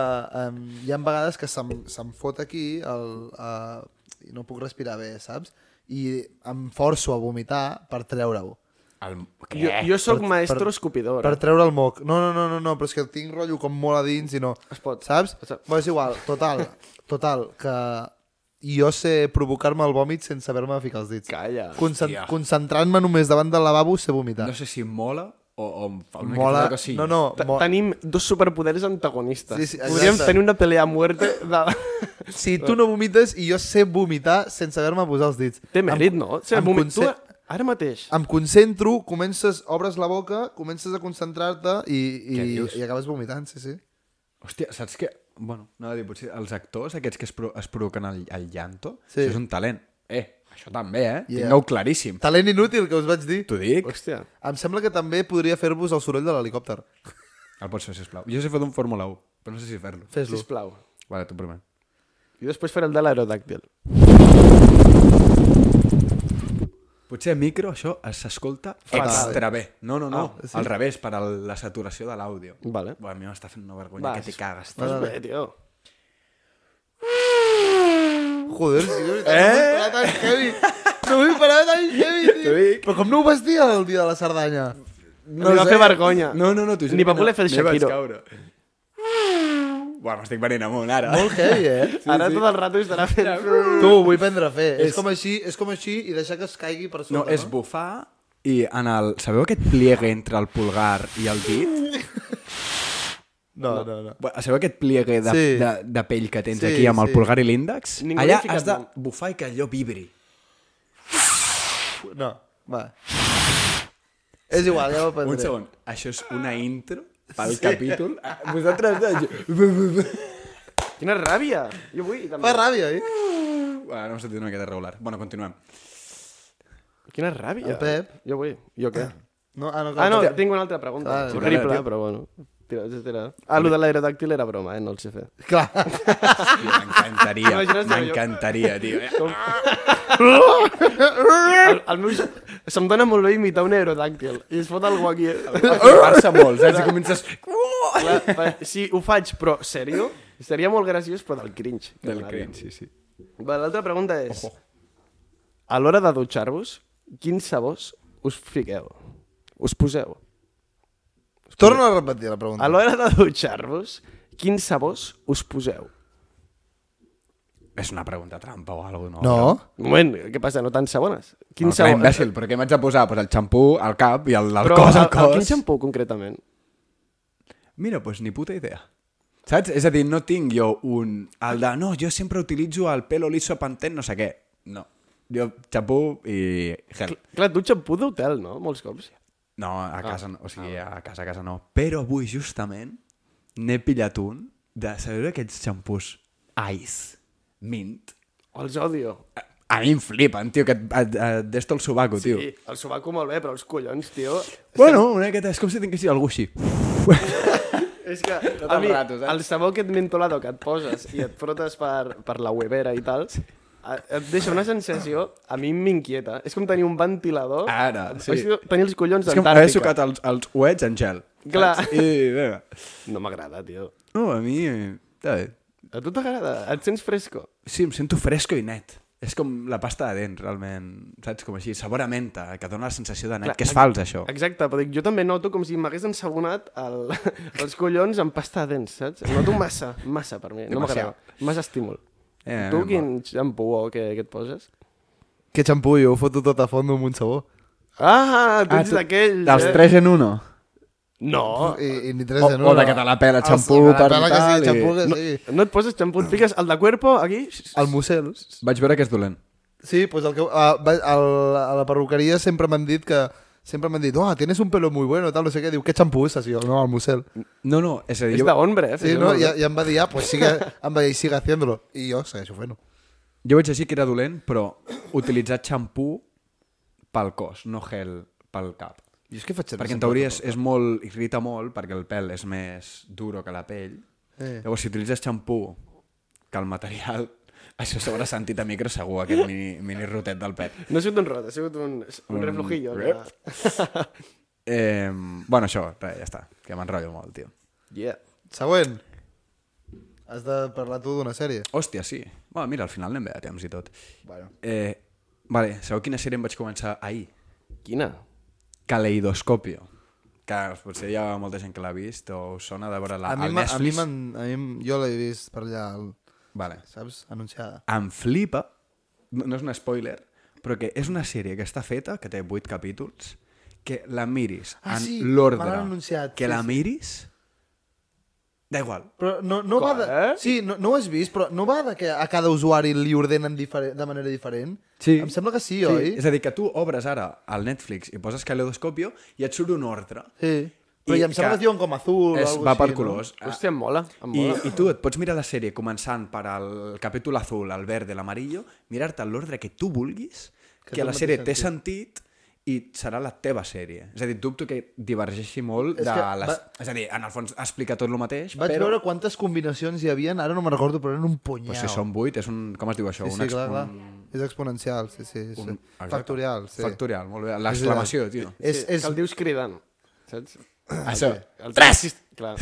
E: um, hi ha vegades que se'm, se'm fot aquí el, uh, i no puc respirar bé, saps? I em forço a vomitar per treure-ho.
A: El...
B: Jo, jo sóc
E: Per-
B: maestro
E: per-
B: escopidor.
E: Per treure el moc. No, no, no, no, no, però és que el tinc rotllo com molt a dins i no...
B: Es pot.
E: Saps?
B: Es pot.
E: Però és igual, total, total, que jo sé provocar-me el vòmit sense haver-me de ficar els dits.
B: Calla.
E: Concent
A: Hòstia.
E: Concentrant-me només davant del lavabo sé vomitar.
A: No sé si mola o, o em fa una
E: Mola...
A: miqueta de cosilla.
E: No, no,
B: T-
E: mo...
B: Tenim dos superpoders antagonistes.
E: Sí, sí, exacte.
B: Podríem tenir una pelea a muerte de...
E: si tu no vomites i jo sé vomitar sense haver-me posat els dits.
B: Té
E: Em-
B: mèrit, no? O sigui,
E: em
B: moment, tu, eh?
E: conce-
B: ara mateix,
E: Em concentro, comences, obres la boca, comences a concentrar-te i,
A: Què
E: i,
A: dius?
E: i acabes vomitant, sí, sí.
A: Hòstia, saps què? Bueno, anava a dir, potser els actors aquests que es, pro es provoquen el, el llanto,
E: Sí.
A: sí. això és un talent. Eh, això també, eh?
E: Yeah.
A: Yeah. Tingueu claríssim.
E: Talent inútil, que us vaig dir.
A: T'ho dic.
B: hòstia,
E: Em sembla que també podria fer-vos el soroll de l'helicòpter.
A: El pots fer, sisplau. Jo sé fer d'un Fórmula 1, però no sé si fer-lo.
E: Fes-lo.
B: sisplau.
A: Vale, t'ho promet.
B: I després faré el de l'aerodàctil.
A: Potser a micro això es- s'escolta
B: Fatal.
A: extra bé. No, no, no.
E: Ah,
A: Ah,
E: sí.
A: sí. Al revés, per a la saturació de l'àudio.
B: Vale.
A: Bueno, a mi m'està fent una vergonya
B: Va,
A: que t'hi
B: és-
A: cagues.
B: Estàs bé, tio.
E: Joder, sí, de veritat, eh? no m'ho esperava tan heavy. No m'ho esperava tan heavy, tio. Però com no ho vas dir el dia de la Cerdanya?
B: No Li va fer vergonya.
A: No, no, no, t'ho juro.
B: Ni va
A: que
B: voler
A: no.
B: fer el
A: Ni vaig
B: Shakiro.
A: caure. Buah, m'estic venint amunt ara.
E: Molt heavy, eh?
B: Ara tot el rato estarà fent...
E: Tu, ho vull prendre a fer. És,
A: És-
E: com així, és com així i deixar que es caigui per sota,
A: No, és bufar i en el... Sabeu aquest pliegue entre el pulgar i el dit?
E: No, no, no.
A: Bé, Sabeu aquest pliegue de,
E: Sí.
A: sí. de, de pell que tens
E: Sí,
A: sí, aquí amb
E: sí.
A: el pulgar i l'índex?
B: Ningú li ha
A: Allà
B: ficat
A: has de
B: nom.
A: bufar i que allò vibri.
E: No, va. És igual, ja ho prendré.
A: Un segon. Això és una intro pel Ah. sí. capítol. Ah, Vosaltres... eh, de-
B: Quina ràbia! Jo vull, també.
E: Fa ràbia, eh?
A: Bueno, no hem sentit una miqueta regular. Bueno, continuem.
B: Quina ràbia!
E: El Pep.
B: Jo vull. Jo què?
E: No, ah, no,
B: Ah, no,
E: cal-
B: tinc una altra pregunta.
E: Ah,
B: Ah,
E: sí,
B: Horrible,
A: tira, tira.
B: però bueno. Tira, tira, tira. Ah, lo de l'aerodàctil era broma, eh? No el sé fer.
E: Clar.
A: Tio, M'encantaria,
B: Imagina't que jo-
A: m'encantaria, tio.
B: El, el meu... Se'm dona molt bé imitar un aerodàctil. I es fot algú aquí.
A: Eh, Passa molt, saps? I eh, comences...
B: Clar, per- si ho faig, però sèrio, seria molt graciós, però del cringe. que
A: Del
B: m'agrada.
A: cringe, sí, sí.
B: Va, L'altra pregunta és... A l'hora de dutxar-vos, quins sabors us fiqueu? Us poseu?
E: Torno a repetir la
B: A
E: pregunta.
B: l'hora de dutxar-vos, quins sabors us poseu?
A: És una pregunta trampa o alguna cosa,
E: No?
B: Un moment, què passa? No tan sabones? Quin
A: Quin sabó? Imbècil, però què m'haig de posar? Pues el xampú, el cap i el, el
B: Però
A: cos, el,
B: el,
A: cos.
B: quin xampú, concretament?
A: Mira, doncs pues, ni puta idea. Saps? És a dir, no tinc jo un... El de, no, jo sempre utilitzo el pelo liso pantent, no sé què. No. Jo, xampú i gel.
B: Clar, tu xampú d'hotel, no? Molts cops.
A: No, a casa no. O sigui, a casa, a casa no. Però avui, justament, n'he pillat un de, sabeu aquests xampús Ice Mint?
B: Els odio.
A: A, a mi em flipen, tio, que et, et, et desto el sobaco, sí. tio.
B: I el sobaco molt bé, però els collons, tio...
A: Bueno, una miqueta, és com si tinguessis algú així.
B: És que
A: Tot
B: a
A: el
B: mi,
A: rato, saps?
B: el sabó aquest mentolado que et poses i et frotes per, per la webera i tal, a- et deixa una sensació, a mi m'inquieta. És com tenir un ventilador...
A: Ara, sí.
B: O sigui, tenir els collons
A: És que m'he
B: d'Antàrtica.
A: sucat els, els uets en gel.
B: Clar.
A: saps? I, vinga.
B: No m'agrada, tio.
A: No, a mi... eh, Està bé.
B: A tu t'agrada? Et sents fresco?
A: Sí, em sento fresco i net. És com la pasta de dents, realment. Saps? Com així, sabor a menta, que dona la sensació de net.
B: Clar,
A: que és
B: ex-
A: fals, això.
B: Exacte, però dic, jo també noto com si m'hagués ensabonat el, els collons amb pasta de dents, saps? Noto massa, massa per mi. No
A: Demasiado.
B: m'agrada. Massa estímul.
A: Eh,
B: tu
A: va.
B: quin xampú o què, què et poses?
E: Que xampú, jo ho foto tot a fondo amb un sabó.
B: Ah, tu ets
A: tu-
B: d'aquells,
A: Dels
B: eh?
A: 3 en 1.
B: No,
E: I, i ni tres
A: O, o
E: en una.
A: Ah, de que te la pela,
E: El-
A: xampú,
E: la
A: per
E: pela que
A: tal...
E: Sí, xampú
A: i...
E: que
B: No,
E: sí.
B: no et poses xampú, et fiques el de cuerpo aquí...
E: El Mussel.
A: Vaig veure que és dolent.
E: Sí, pues el que, a, a, a la perruqueria sempre m'han dit que sempre m'han dit, oh, tienes un pelo muy bueno, tal, no sé què. Diu, què xampú és? I jo, no, el Mussel.
A: No, no, és a dir...
B: És
A: Jo,
B: d'ombre, eh?
E: Sí,
B: fiqueu-lo.
E: no? I, I em va dir, ah, pues sigue, em va dir, sigue haciéndolo. I jo segueixo fent-ho.
A: jo vaig llegir que era dolent, però utilitzar xampú pel cos, no gel pel cap.
E: Jo és que faig servir
A: Perquè en
E: sempre
A: teoria és,
E: tot.
A: és molt, irrita molt perquè el pèl és més duro que la pell.
E: Eh.
A: Eh. Llavors, si utilitzes xampú, que el material Això s'haurà sentit a micro segur, aquest mini, mini rotet del pet.
B: No ha sigut un rot, ha sigut un, un, un reflujillo.
A: Mm. rep. Eh, bueno, això, res, ja està, que m'enrotllo molt, tio.
B: Yeah.
E: Següent. Has de parlar tu d'una sèrie.
A: Hòstia, sí. Bueno, mira, al final anem bé de temps i tot.
E: Bueno.
A: Eh, vale, sabeu quina sèrie em vaig començar ahir?
B: Quina?
A: Caleidoscopio. Que potser hi ha molta gent que l'ha vist o us sona de veure la,
E: A mi,
A: al
E: m'ha- a mi,
A: Netflix.
E: m'han- a mi m- jo l'he vist per allà, el-
A: Vale.
E: saps? Anunciada.
A: Em flipa, no no és un spoiler, però que és una sèrie que està feta, que té 8 capítols, que la miris
E: Ah,
A: en
E: sí, me
A: l'ordre
E: l'han anunciat,
A: que
E: sí,
A: la
E: sí.
A: miris, da igual.
E: Però no, no va
B: Com,
E: de...
B: eh?
E: Sí, no, no ho has vist, però no va de que a cada usuari li ordenen diferent, de manera diferent?
A: Sí.
E: Em sembla que sí, sí. oi?
A: És a dir, que tu obres ara al Netflix i poses Caleidoscopio i et surt un ordre.
E: Sí. Però
A: I
E: ja em
A: que
E: sembla que es diuen com azul
A: És,
E: o alguna
A: va per
E: així,
A: colors. Ah,
B: Hòstia, em mola, em
A: I,
B: mola.
A: I tu et pots mirar la sèrie començant per al capítol azul, el verd, l'amarillo, mirar-te en l'ordre que tu vulguis,
E: Que
A: que,
E: té
A: que
E: el
A: la
E: mateix
A: sèrie té sentit i serà la teva sèrie. És a dir, dubto que divergeixi molt
E: És
A: és de
E: que
A: les...
E: va-
A: És a dir, en el fons explica tot el mateix,
E: No? Vaig
A: però...
E: veure quantes combinacions hi havia, ara no me'n recordo, però eren un punyau.
A: Però si són vuit, és un... Com es diu això?
E: Sí,
A: un
E: sí,
A: ex-
E: clar,
A: un-
E: clar. És exponencial, sí, sí. sí.
A: un- exacte.
E: Factorial, sí.
A: Factorial, molt bé. L'exclamació, tio.
E: És,
B: sí,
E: és...
B: Que el dius cridant, saps?
E: Ah,
A: Això.
B: El Tres! Clar.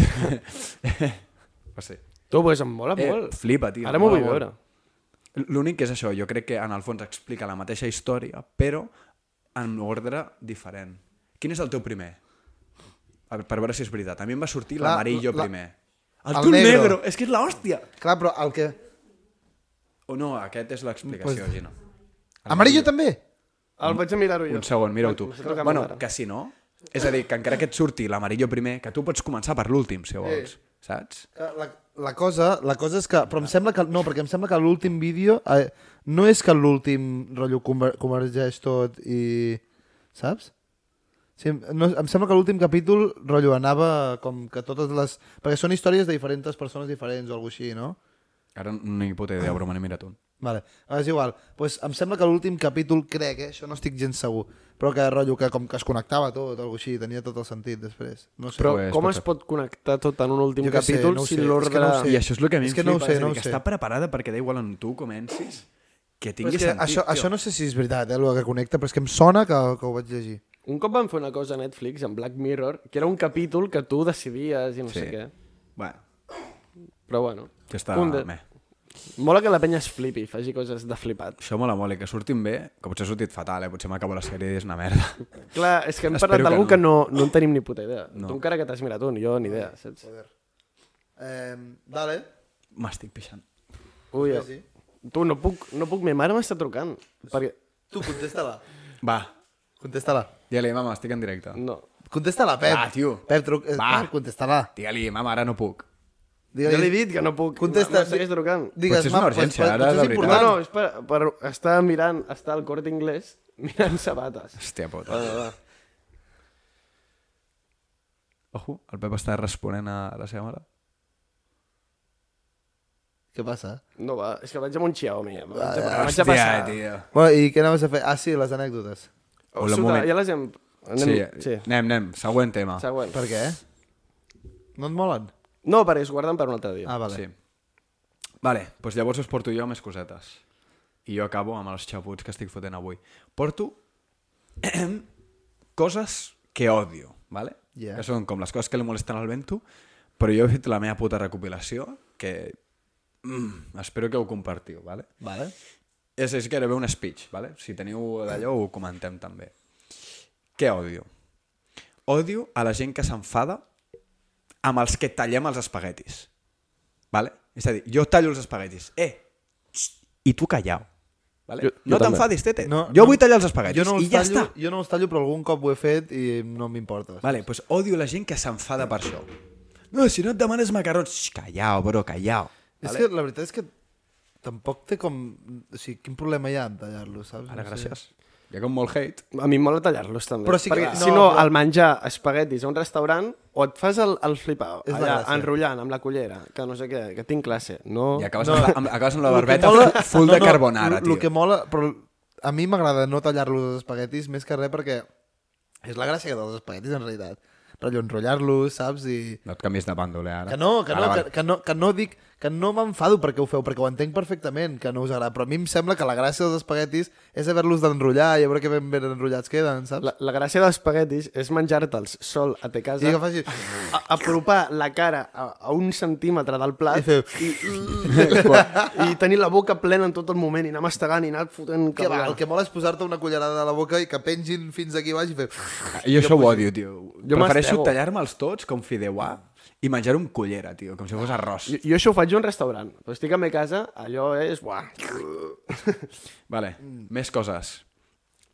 A: Va ser.
B: Tu, pues, em mola
A: Eh,
B: molt.
A: flipa, tio,
B: Ara m'ho
A: mola
B: vull
A: molt.
B: veure.
A: L'únic que és això, jo crec que en el fons explica la mateixa història, però en ordre diferent. Quin és el teu primer? A veure, Per veure si és veritat. A mi em va sortir
E: Clar,
A: l'amarillo
E: la-
A: primer. El,
E: el
A: el tu negro.
E: negro.
A: És que és l'hòstia!
E: Clar, però el que...
A: O no, aquest és l'explicació,
E: Pues-
A: pues... Gino.
E: Amarillo també?
B: El vaig a mirar-ho jo.
A: Un segon, mira-ho tu.
B: M'està tocant
A: Bueno,
B: ara.
A: que si no... És a dir, que encara que et surti l'amarillo primer, que tu pots començar per l'últim, si vols. Saps?
E: La, la, cosa, la cosa és que... Però em sembla que... No, perquè em sembla que l'últim vídeo... Eh, no és que l'últim rotllo conver, convergeix tot i... Saps? Sí, em- no, em sembla que l'últim capítol rotllo anava com que totes les... Perquè són històries de diferents persones diferents o alguna així, no?
A: Ara no hi puta idea, però me n'he mirat un.
E: Vale, és igual. Pues em sembla que l'últim capítol, crec, eh? això no estic gens segur, però que rotllo que com que es connectava tot, o alguna així, tenia tot el sentit després. No sé.
B: Però
A: Pues,
B: com
A: pot
B: es
A: ser.
B: pot connectar tot en un últim
E: Jo què sé,
B: capítol
E: no ho
B: si
E: sé, és que no ho
B: l'ordre...
E: sé.
A: I això és el que a mi
E: És
A: em
E: que no ho
A: flipa,
E: sé,
A: és a dir,
E: no ho
A: que
E: sé.
A: està preparada perquè da igual on tu comencis, que
E: Però
A: tingui
E: és que
A: sentit,
E: això,
A: tio.
E: això no sé si és veritat, eh, el que connecta, però és que em sona que, que ho vaig llegir.
B: Un cop van fer una cosa a Netflix, en Black Mirror, que era un capítol que tu decidies i no
A: Sí.
B: sé què.
A: Bueno,
B: Però bueno.
A: que està...
B: un de-
A: De...
B: Mola que la penya es flipi, faci coses de flipat.
A: Això mola molt, i que surtin bé, que potser ha sortit fatal, eh? potser m'acabo la sèrie i és una merda.
B: Clar, és que hem
A: Espero
B: parlat
A: que
B: d'algú
A: no.
B: que, no. no en tenim ni puta idea. Tu encara que t'has mirat un, jo ni idea, saps?
E: Eh, vale.
A: M'estic pixant.
B: Ui,
E: Sí, sí.
B: tu, no puc, no puc, ma mare m'està trucant. Perquè...
E: Tu, contesta-la.
A: Va,
E: Contesta-la.
A: digue-li, mama, estic en directe.
B: No.
E: Contesta-la, Pep.
A: Va, tio.
E: Pep, truc... eh,
A: Va.
E: Pep, contesta-la.
A: Digue-li, mama, ara no puc.
B: Jo li he dit que no puc.
E: Contesta.
B: Em segueix trucant.
A: Potser és una
E: "Ma, pues,
A: urgència,
E: pues,
A: ara,
E: potser
A: de
E: és
B: No,
A: veritat.
E: important".
B: no, és per, per estar mirant, estar al cort inglès mirant sabates.
A: Hòstia puta.
B: Va, va, va.
A: Ojo, el Pep està responent a la seva mare.
E: Què passa?
B: No va, és que vaig amb un Xiaomi. em Vaig a, em vaig
A: Ah, Hòstia,
B: a passar.
A: tio.
E: Bueno, I què anaves a fer? Ah, sí, les anècdotes.
A: Hola,
B: Oh,
A: un
B: Suta,
A: moment.
B: ja les hem...
A: Sí,
B: Anem... Sí,
A: sí, eh, anem, anem, següent tema.
B: Següent.
E: Per què? No et molen?
B: No, perquè es guarden per un altre dia.
E: Ah, vale.
A: Sí. Vale, doncs llavors us porto jo més cosetes. I jo acabo amb els xaputs que estic fotent avui. Porto coses que odio, vale?
E: Yeah.
A: Que són com les coses que li molesten al vento, però jo he fet la meva puta recopilació, que mm, espero que ho compartiu, vale?
E: Vale.
A: És, és gairebé un speech, vale? Si teniu d'allò ho comentem també. Què odio? Odio a la gent que s'enfada amb els que tallem els espaguetis. Vale? És a dir, jo tallo els espaguetis. Eh! Xt, I tu callau. Vale?
B: Jo-
A: Jo,
B: jo
A: no
B: també.
A: t'enfadis, tete. No, jo vull tallar els espaguetis
E: jo no els
A: i ja
E: tallo,
A: està.
E: Jo no els tallo, però algun cop ho he fet i no m'importa.
A: Vale, doncs odio la gent que s'enfada per això. No, si no et demanes macarrons... Xt, callau, bro, callau.
E: És que la veritat és que tampoc té com... O sigui, quin problema hi ha en tallar-lo, saps?
A: Ara,
E: No sé.
A: gràcies. Hi ha com molt hate.
B: A mi em mola tallar-los també.
E: Però sí que-
B: perquè,
E: no,
B: no, si no,
E: però-
B: al menjar espaguetis a un restaurant, o et fas el, el flipar,
E: És la
B: allà,
E: gràcia.
B: enrotllant amb la cullera, que no sé què, que tinc classe. No...
A: I acabes,
E: No.
A: no. amb, la, amb, acabes amb la
E: Lo que
A: barbeta
E: mola-
A: full
E: no,
A: de
E: no,
A: carbonara,
E: lo-
A: tio.
E: Lo que mola, però a mi m'agrada no tallar-los els espaguetis més que res perquè és la gràcia dels espaguetis en realitat. rotllo enrotllar-los, saps? I...
A: No et canvies de bàndol, eh, ara.
E: Que no, que no,
A: Ara, vale.
E: que, que no, que no dic... Que no m'enfado perquè ho feu, perquè ho entenc perfectament, que no us agrada. Però a mi em sembla que la gràcia dels espaguetis és haver-los d'enrotllar i a veure que ben ben enrotllats queden, saps?
B: La, la gràcia dels espaguetis és menjar-te'ls sol a te casa,
E: I que facis...
B: a, apropar la cara a, a un centímetre del plat
E: I
B: i, i tenir la boca plena en tot el moment i anar mastegant i anar fotent...
E: Que va,
B: cabrana.
E: el que mola és posar-te una cullerada a la boca i que pengin fins aquí baix i fer...
A: Jo això ho odio, tio.
B: Jo
A: Jo Prefereixo
B: m'estego.
A: tallar-me'ls tots com fideuà i menjar un cullera, tio, com si fos arròs.
B: Jo, jo això ho faig a un restaurant, però estic a la meva casa, allò és... Buah.
A: Vale, més coses.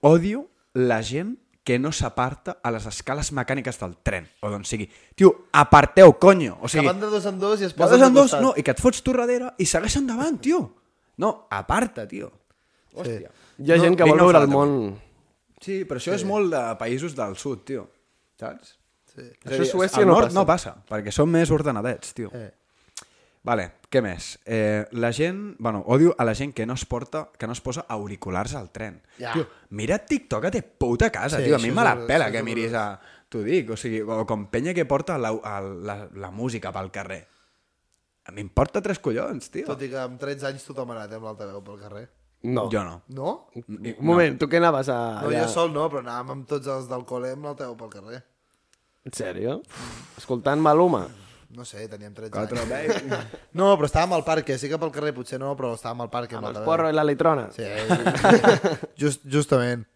A: Odio la gent que no s'aparta a les escales mecàniques del tren, o d'on sigui. Tio, aparteu, conyo! O
E: Que
A: sigui,
E: van de dos en dos i es
A: de
E: posen
A: dos en
E: de
A: dos,
E: costat.
A: no, i que et fots tu darrere i segueix endavant, tio. No, aparta, tio.
E: Hòstia.
B: Hi ha no, gent que
A: vinc
B: vol veure el
A: enfadat,
B: món...
A: Sí, però això sí. és molt de països del sud, tio. Saps? Sí.
B: Això a Suècia
A: al
B: no
A: nord
B: passa.
A: no passa, perquè són més ordenadets, tio.
E: Eh.
A: Vale, què més? Eh, la gent... Bueno, odio a la gent que no es porta, que no es posa auriculars al tren.
E: Ja.
A: Tio, mira TikTok a te puta casa,
E: Sí,
A: sí, tio. A mi me
E: això és
A: la
E: horrorós,
A: pela
E: això
A: que
E: és
A: miris a... T'ho dic, o sigui, o com penya que porta la, a, la, la música pel carrer. A mi em porta tres collons, tio.
E: Tot i que amb 13 anys tothom ha anat eh, amb l'altaveu pel carrer.
B: No.
A: Jo no.
E: No?
B: Un moment, tu què anaves a...
E: No, jo sol no, però anàvem amb tots els del col·le amb l'altaveu pel carrer.
B: En sèrio? Escoltant Maluma?
E: No sé, teníem 13
A: Quatre,
E: anys.
A: bé.
E: No, però estàvem al parc, eh? sí que pel carrer potser no, però estàvem al parc amb,
B: Amb el
E: l'altaveu.
B: porro i l'electrona?
E: Sí, just, justament.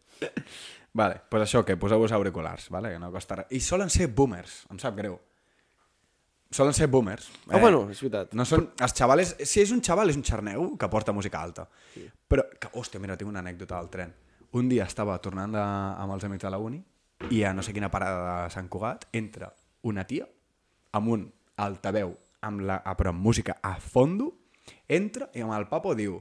A: Vale, doncs pues això, que poseu-vos auriculars, vale? que no costa res. I solen ser boomers, em sap greu. Solen ser boomers.
B: Ah, bueno, és veritat.
A: Eh. No són... Els xavales... Si és un xaval, és un xarneu que porta música alta. Sí. Però, que, hòstia, mira, tinc una anècdota del tren. Un dia estava tornant de, amb els amics de la uni i a no sé quina parada de Sant Cugat entra una tia amb un altaveu, amb la, ah, però amb música a fondo, entra i amb el papo diu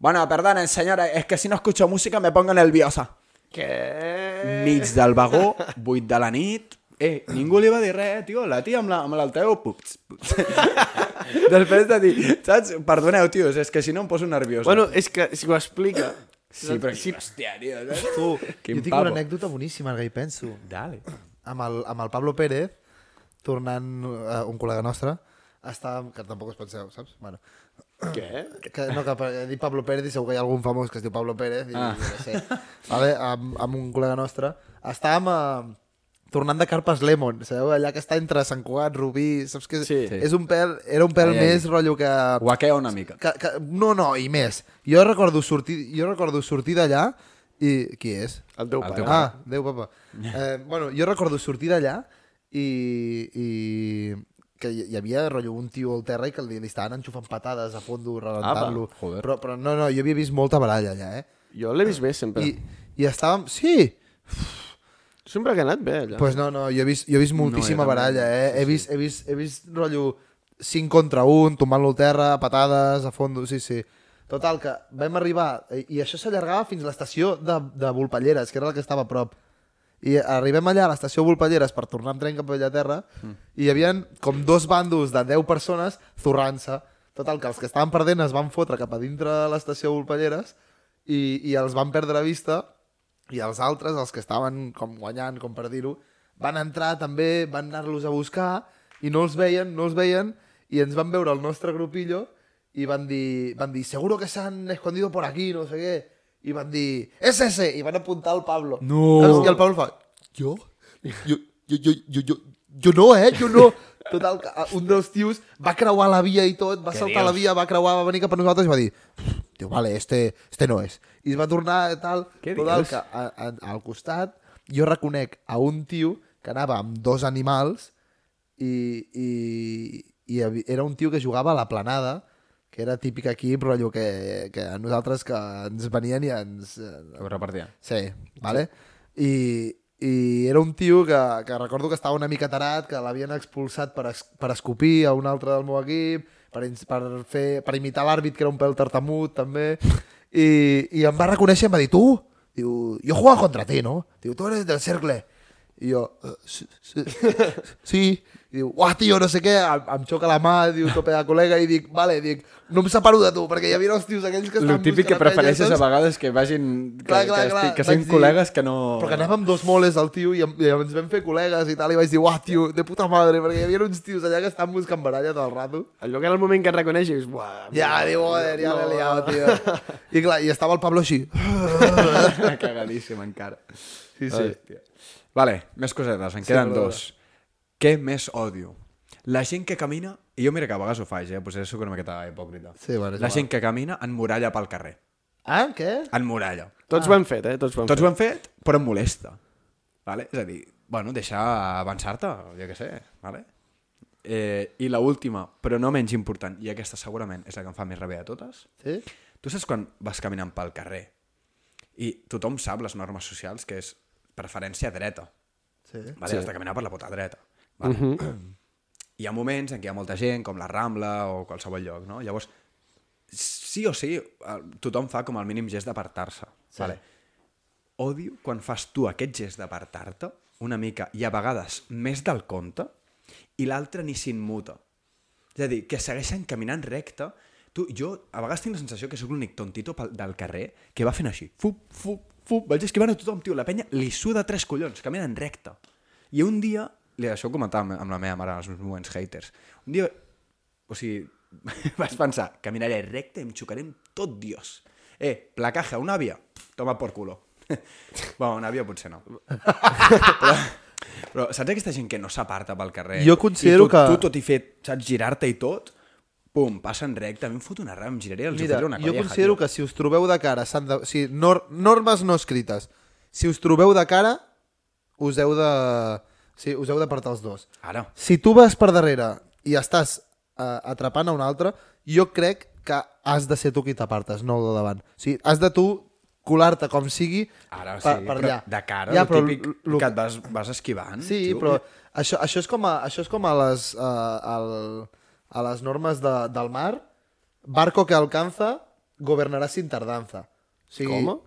A: Bueno, perdonen, senyora, es que si no escucho música me pongo nerviosa
B: Què?
A: mig del vagó, 8 de la nit, eh, ningú li va dir res, tio, la tia amb la- amb l'altaveu, la, pups, pups. Després de dir, saps? Perdoneu, tios, és que si no em poso nerviós.
B: Bueno, és que si ho explica...
A: sí, però sí. hòstia, tio, saps?
E: Tu,
A: Quin
E: jo tinc
A: pavo.
E: una anècdota boníssima, ara que hi penso.
A: Dale.
E: Amb el, amb el Pablo Pérez, tornant eh, un col·lega nostre, estàvem, que tampoc us penseu, saps? Bueno,
B: Què?
E: que, no, que per dir Pablo Pérez i segur que hi ha algun famós que es diu Pablo Pérez i ah. jo què sé. Vale? Amb, amb un col·lega nostre. Estàvem a, tornant de Carpes Lemon, sabeu? Allà que està entre Sant Cugat, Rubí, saps que és,
B: Sí.
E: és un pèl, era un pèl
A: Ai, ai.
E: més rotllo que...
A: Guaquea una mica.
E: que, que... No, no, i més. Jo recordo sortir, jo recordo sortir d'allà i... Qui és?
B: El teu
A: El
B: pare.
A: teu
E: Ah, Déu, papa. Eh, bueno, jo recordo sortir d'allà i, i que hi hi havia rotllo, un tio al terra i que li, li estaven enxufant patades a fondo, rebentant-lo.
A: joder.
E: Però, però no, no, jo havia vist molta baralla allà, eh?
B: Jo l'he vist bé sempre.
E: I, i estàvem... Sí!
B: Sempre que ha anat bé, allò.
E: Pues no, no, jo he vist, jo he vist moltíssima
A: també.
E: baralla, eh? He vist, he vist, he vist rotllo 5 contra 1, tombant-lo al terra, patades, a fondo, sí, sí. Total, que vam arribar, i- i això s'allargava fins a l'estació de, de Volpelleres, que era la que estava a prop. I arribem allà a l'estació Volpelleres per tornar amb tren cap a Bellaterra, mm. i hi havia com dos bàndols de 10 persones zurrant-se. Total, que els que estaven perdent es van fotre cap a dintre de l'estació Volpelleres i, i els van perdre la vista i els altres, els que estaven com guanyant, com per dir-ho, van entrar també, van anar-los a buscar i no els veien, no els veien i ens van veure el nostre grupillo i van dir, van dir seguro que s'han escondido por aquí, no sé què i van dir, és ese, i van apuntar al Pablo
A: No.
E: Saps? i el Pablo fa jo? jo, jo, jo, jo, jo, jo no, eh, jo no total, que, eh, un dels tios va creuar la via i tot, va saltar la via, va creuar, va venir cap a nosaltres i va dir, diu, vale, este, este no és. I es va tornar tal,
A: Què
E: total,
A: dius?
E: que a, a, al costat jo reconec a un tio que anava amb dos animals i, i, i hi havi- era un tio que jugava a la planada, que era típic equip, rotllo que, que a nosaltres que ens venien i ens, eh,
A: Ho repartia.
E: Sí, vale? I, i era un tio que, que recordo que estava una mica tarat, que l'havien expulsat per, es, per escopir a un altre del meu equip, per, ins- per, fer, per imitar l'àrbit, que era un pèl tartamut, també, i, i em va reconèixer i em va dir, tu? Diu, jo jugava contra ti, no? Diu, tu eres del cercle. I jo, eh, sí, sí, sí. I diu, uah, tio, no sé què, em, em xoca la mà, diu, tope de col·lega, i dic, vale, dic, no em separo de tu, perquè hi havia els tios aquells que
A: El
E: estaven
A: típic que
E: buscant penya,
A: prefereixes a
E: saps?
A: vegades que vagin... Que,
E: Clar, clar,
A: que,
E: clar,
A: estic, que siguin
E: vaig dir-
A: col·legues que no...
E: Però que anàvem dos moles al tio i, em- i ens vam fer col·legues i tal, i vaig dir, uah, tio, de puta madre, perquè hi havia uns tios allà que estaven buscant baralla tot el rato.
B: Allò que en el moment que et reconeixis, buah...
E: Ja, diu, joder, ja l'he liat, tio. I clar, i estava el Pablo així.
A: Cagadíssim, encara.
E: Sí, sí.
A: Hòstia. Vale, més cosetes, en queden
E: perdona.
A: dos. Què més odio? La gent que camina, i jo mira que a vegades ho faig, eh? potser sóc una miqueta hipòcrita.
E: Sí, bueno, és
A: la
E: igual.
A: gent que camina en muralla pel carrer.
E: Ah, què?
A: En muralla.
B: Tots
E: Ah.
B: ho hem fet, eh? Tots ho hem
A: Tots ho han fet, però em molesta. Vale? És a dir, bueno, deixar avançar-te, jo què sé. Vale? Eh, I la última, però no menys important, i aquesta segurament és la que em fa més ràbia de totes,
E: Sí?
A: Tu saps quan vas caminant pel carrer i tothom sap les normes socials que és preferència dreta.
E: Sí.
A: Vale? Sí. Has de caminar per la puta dreta. Vale? Uh -huh. Hi ha moments en què hi ha molta gent, com la Rambla o qualsevol lloc, no? Llavors, sí o sí, eh, tothom fa com el mínim gest d'apartar-se. Sí. Vale? Odio quan fas tu aquest gest d'apartar-te una mica i a vegades més del compte i l'altre ni s'inmuta. És a dir, que segueixen caminant recte. Tu, jo a vegades tinc la sensació que sóc l'únic tontito pel, del carrer que va fent així. Fup, fup, fup. Vaig esquivant a tothom, tio. La penya li suda tres collons, caminen recte. I un dia, li- això ho comentava amb, amb la meva mare en els meus moments haters, un dia, o sigui, vaig pensar, caminaré recte i em xocaré amb tot Dios. Eh, placaje, una àvia, toma por culo. bueno, una àvia potser no. però, però saps aquesta gent que no s'aparta pel carrer?
E: Jo considero
A: I tu,
E: que-
A: Tu, tot i fer, saps, girar-te i tot, pum, passen recte, a mi em fot una rama, em giraré, els
E: Mira,
A: oferiré una
E: jo
A: colleja,
E: considero
A: tio.
E: que si us trobeu de cara, s'han de... O sigui, nor normes no escrites. Si us trobeu de cara, us heu de... Sí, us heu d'apartar els dos.
A: Ara,
E: Si tu vas per darrere i estàs eh, atrapant a un altre, jo crec que has de ser tu qui t'apartes, no el de davant. O sigui, has de tu colar-te com sigui
A: ara, sí,
E: per, per
A: però
E: allà.
A: de cara,
E: ja,
A: ja,
E: però
A: el típic
E: l- l-
A: que et vas, vas
B: Mm,
A: esquivant.
E: Sí,
A: tio.
E: però això, això, és com a, això és com a les, uh, al, a les normes de, del mar. Barco que alcanza gobernará sin tardanza. O sigui,
B: ¿Cómo?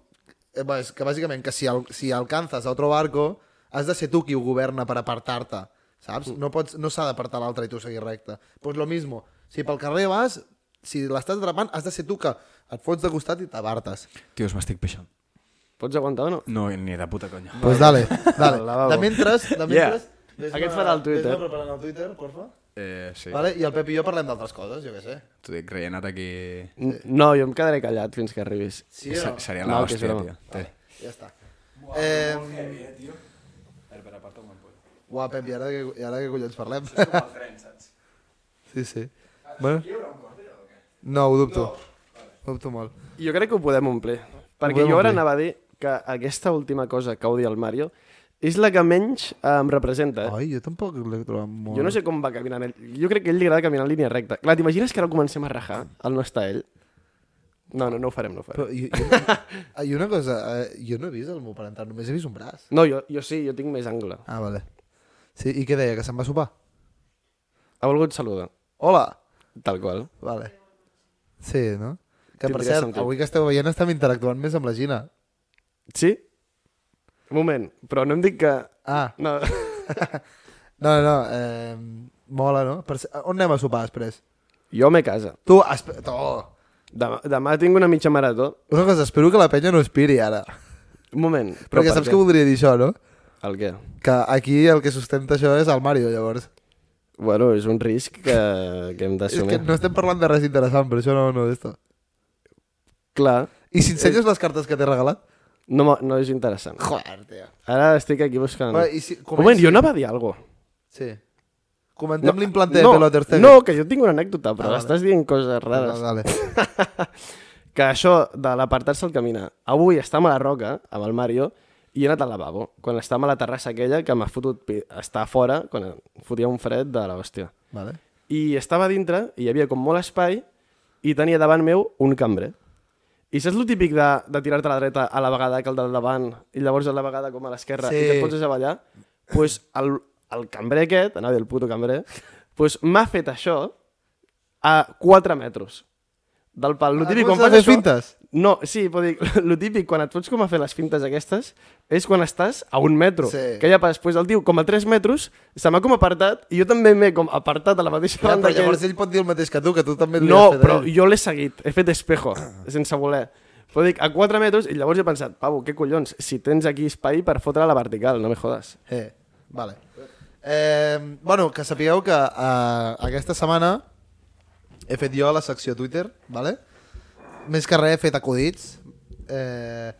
E: Eh, bé, és que bàsicament que si, al, si alcanzas a otro barco has de ser tu qui ho governa per apartar-te,
B: Mm.
E: saps? No, pots, no s'ha d'apartar l'altre i tu seguir recte. Pues lo mismo, si pel carrer vas, si l'estàs atrapant, has de ser tu que et fots de costat i t'abartes.
A: Tios, m'estic peixant.
B: fet. Pots aguantar o no?
A: No, ni de puta conya.
E: Pues dale, dale.
B: Al lavabo.
E: De mentres, de mentres... Yeah.
B: Aquest farà el Twitter.
E: Vés-me preparant el Twitter, porfa.
A: Eh, sí.
E: Vale? I el Pep i jo parlem d'altres coses, jo què sé.
A: T'ho dic, rellenat aquí...
B: N- No, jo em quedaré callat fins que arribis.
E: Sí o no?
A: Seria
B: No,
A: la
B: que
A: hòstia,
B: serà-
A: tio. Té.
E: Ja està. Buah, eh... molt heavy, eh, tio. Uah, Pep, i ara, que, i ara que collons parlem? sí, sí. Bueno. No, ho dubto. Ho dubto molt.
B: Jo crec que ho podem omplir. Perquè
E: podem
B: jo ara
E: omplir.
B: anava a dir que aquesta última cosa que odia el Mario és la que menys eh, em representa.
E: Ai, jo tampoc l'he trobat molt...
B: Jo no sé com va caminant ell. Jo crec que a ell li agrada caminar en línia recta. Clar, t'imagines que ara comencem a rajar? El no està ell. No, no, no ho farem, no ho farem.
E: Però, i, i, ah, i una cosa, eh, jo no he vist el meu parental, només he vist un braç.
B: No, jo, jo sí, jo tinc més angle.
E: Ah, vale. Sí, i què deia, que se'n va sopar?
B: Ha volgut saludar,
E: Hola!
B: tal qual.
E: Vale. Sí, no? Que per
B: Tindria
E: cert,
B: sentit.
E: avui que esteu veient estem interactuant més amb la Gina.
B: Sí? Un moment, però no em dic que...
E: Ah,
B: No,
E: no, no, no. Eh, mola, no? Per... ce- On anem a sopar després?
B: jo me casa.
E: Tu, espe... Oh.
B: Demà, demà tinc una mitja marató.
E: Una cosa, espero que la penya no espiri ara.
B: Un moment.
E: Però Perquè
B: per
E: saps
B: què?
E: què voldria dir això, no?
B: El què?
E: Que aquí el que sustenta això és el Mario, llavors.
B: Bueno, és un risc que, que hem
E: És que
B: d'assumir.
E: no estem parlant de res interessant, però això no, no d'esto.
B: Clar,
E: I si
B: Eh.
E: ensenyes les cartes que t'he regalat?
B: no, mo- no és interessant.
E: Joder, tio.
B: Ara estic aquí buscant...
E: Va, i si...
B: Un moment, jo anava a dir alguna cosa.
E: Sí. Comentem l'implanter de Peloter Stegen.
B: no, que jo tinc una anècdota, però
E: Ah,
B: ah,
E: vale.
B: estàs dient coses
E: Vale,
B: rares.
E: vale.
B: Que això de l'apartar-se al caminar... Avui estàvem a la roca, amb el Mario, i he anat al lavabo, quan estàvem a la terrassa aquella que m'ha fotut... pi- Està fora, quan fotia un fred de l'hòstia.
E: vale.
B: i estava a dintre, i hi havia com molt espai, i tenia davant meu un cambrer. I saps el típic de, de tirar-te a la dreta a la vegada que el del davant, i llavors a la vegada com a l'esquerra,
E: Sí.
B: i que et pots davallar? Doncs pues el, el cambrer aquest, anava a dir el puto cambrer, pues m'ha fet això a 4 metres del pal. Lo
E: Ah,
B: típic,
E: com
B: quan
E: s'ha
B: fas
E: de fer
B: això,
E: fintes?
B: No, sí, però dic, lo típic, quan et fots com a fer les fintes aquestes, és quan estàs a un metro.
E: Sí.
B: Que ja pas, després el tio, com a 3 metres, se m'ha com apartat, i jo també m'he com apartat a la mateixa
E: Ja,
B: banda
E: però
B: que
E: llavors
B: ell.
E: ell pot dir el mateix que tu, que tu també li
B: No,
E: has fet a
B: però
E: ell.
B: jo l'he seguit, he fet espejo, sense voler. Però dic, a 4 metres, i llavors he pensat, Pau, què collons, si tens aquí espai per fotre la vertical, no me jodes.
E: Eh, vale. Eh, bueno, que sapigueu que eh, aquesta setmana he fet jo la secció Twitter, vale? Més que res he fet acudits. Eh,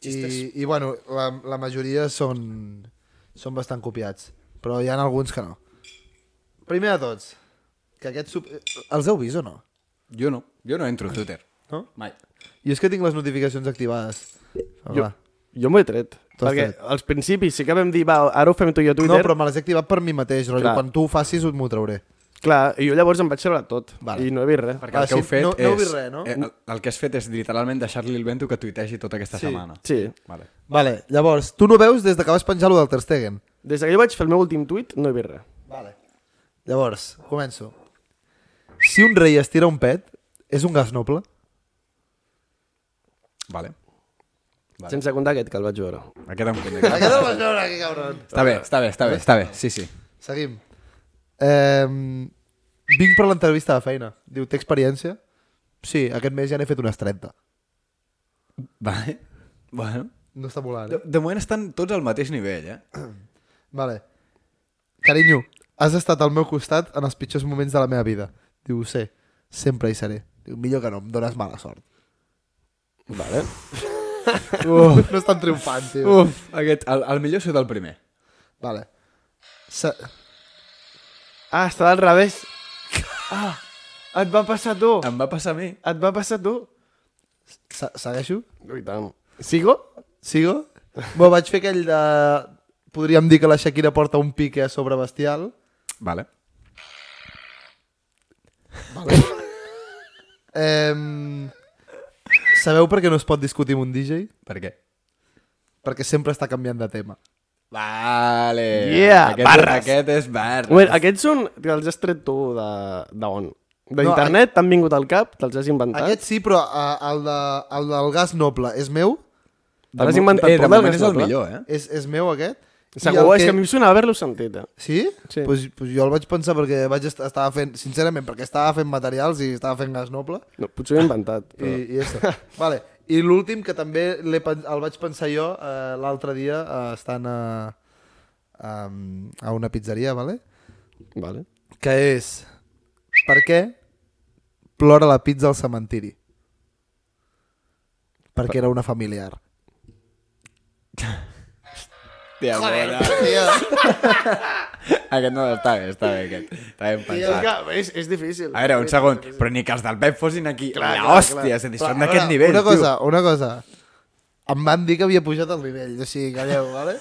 E: i, I, bueno, la, la majoria són, són bastant copiats, però hi ha alguns que no. Primer de tots, que aquest... Sub... Els heu vist o no?
A: Jo no. Jo no entro a Twitter.
E: No? Ah,
A: Mai.
E: Jo és que tinc les notificacions activades.
B: Jo,
E: Ah, Va.
B: jo m'ho he tret.
E: Tu has
B: perquè
E: tret.
B: als principis sí que vam dir, va, ara ho fem tu i jo a
E: No,
B: Twitter.
E: però me les he activat per mi mateix, rotllo.
B: Clar.
E: Quan tu ho facis, ho- m'ho trauré.
B: Clar, i jo llavors em vaig treure tot.
E: Vale.
B: I no he vist res.
A: Perquè
E: Ah,
A: el que
E: sí,
A: heu fet
E: no- no heu
A: és...
E: vist res, no?
A: eh, el, el que has fet és literalment deixar-li el vento que tuitegi tota aquesta
E: Sí.
A: setmana.
B: Sí.
A: Vale.
E: Vale, llavors, tu no veus des de que vas penjar lo del Ter Stegen.
B: Des que jo vaig fer el meu últim tuit, no he vist res.
E: Vale. Llavors, començo. Si un rei es tira un pet, és un gas noble?
A: Vale. Vale.
B: Vale. Sense comptar aquest que el vaig veure.
A: Aquest em conec.
E: Aquest el vas veure aquí, cabron.
A: està bé, està bé, està bé, està bé. Sí, sí.
E: Seguim. Eh, vinc per l'entrevista de feina. Diu, té experiència? Sí, aquest mes ja n'he fet unes 30.
A: Vale. Bueno.
E: No està volant,
A: De,
E: eh?
A: de moment estan tots al mateix nivell, eh?
E: Vale. Carinyo, has estat al meu costat en els pitjors moments de la meva vida. Diu, ho sé, sempre hi seré. Diu, millor que no, em dones mala sort.
B: Vale.
E: Uf. No estan triomfant, tio.
A: Uf, aquest, el, el millor surt el primer.
E: Vale. Se...
B: Ah, estava al revés. Ah, et va passar a tu.
A: Em va passar a mi.
B: Et va passar a tu.
E: Se segueixo?
B: I tant. Sigo?
E: Sigo? Bo, vaig fer aquell de... Podríem dir que la Shakira porta un pique a sobre bestial.
A: Vale.
E: Eh... Sabeu per què no es pot discutir amb un DJ?
A: Per què?
E: Perquè sempre està canviant de tema.
A: Vale.
B: Yeah,
A: aquest,
B: barres.
A: Aquest és barres.
B: Bueno, aquests són... que Els has tret tu de... De on? D'internet? T'han vingut al cap? Te'ls has inventat?
E: Aquest sí, però eh, el, de, el del gas noble és meu?
A: De
B: Te l'has
A: mo-
B: inventat
A: eh,
B: tu,
A: de
B: del
A: moment
B: que
A: és
B: es
A: el
B: nota.
A: millor, eh?
E: És, és meu aquest? I
B: Segur,
E: el
B: és que a mi em sonava haver-lo sentit, eh?
E: Sí?
B: Sí.
E: Pues, pues jo el vaig pensar perquè vaig est estava fent, sincerament, perquè estava fent materials i estava fent gas noble.
B: No, potser ho he inventat.
E: I,
B: Però... I...
E: i això. vale. I l'últim que també l'he pen- el vaig pensar jo eh, l'altre dia eh, estant a, a, a una pizzeria, vale?
B: Vale.
E: que és per què plora la pizza al cementiri? Perquè era una familiar.
A: Tia, bona. aquest no, està bé, està bé aquest. Està ben
B: És,
A: pensat.
B: que és, és difícil.
A: A veure, un segon. Però ni que els del Pep fossin aquí. Clar, la hòstia, és a dir, són
E: Però,
A: d'aquest
E: a veure,
A: nivell,
E: Una cosa,
A: tio.
E: una cosa. Em van dir que havia pujat el nivell, o sigui, calleu, vale?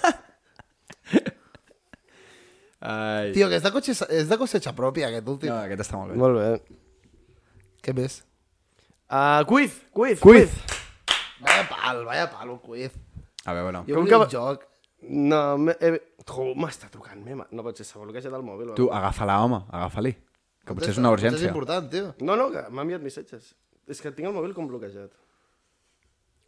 A: Ai.
E: Tio, que és de, cotxe, és de cosecha pròpia, aquest últim.
A: No,
E: No.
A: aquest està molt bé.
B: Molt bé.
E: Què més?
B: Uh, quiz, quiz,
A: Quiz.
E: Vaya pal, vaya pal, un quiz.
A: A veure,
E: Jo
B: Com
E: volia
B: que-
E: un joc.
B: No, me- he... Jo, m'està trucant, mema. No pot ser, s'ha bloquejat el mòbil.
A: Tu, agafa-la, home, agafa-li. Que potser és una
E: Potser és
A: urgència.
E: important, tio.
B: No, no, que m'ha enviat missatges. És que tinc el mòbil com bloquejat.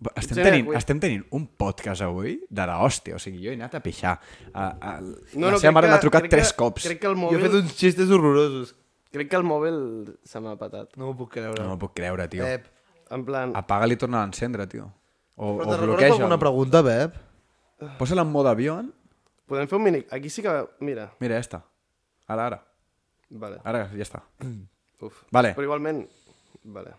A: Però Estem
B: Sí,
A: tenint,
B: avui.
A: estem tenint un podcast avui de la hòstia, o sigui, jo he anat a pixar. A, a,
B: No,
A: la seva mare m'ha trucat tres
B: que,
A: cops.
B: Crec que el
E: Jo he
B: mòbil,
E: fet uns xistes horrorosos.
B: crec que el mòbil se m'ha patat.
E: No m'ho puc creure.
A: No m'ho puc creure, tio.
E: Pep.
B: En plan,
A: Apaga-li i torna a encendre, tio. O, o
E: Però te recordes
A: bloqueja.
E: alguna pregunta, Pep?
A: Posa-la en mode avión.
B: podem fer un mini... Aquí sí que... Mira,
A: Mira, ja està. Ara, ara.
B: vale.
A: Ara, ja està.
B: Uf.
A: Vale.
B: Però igualment... Vale.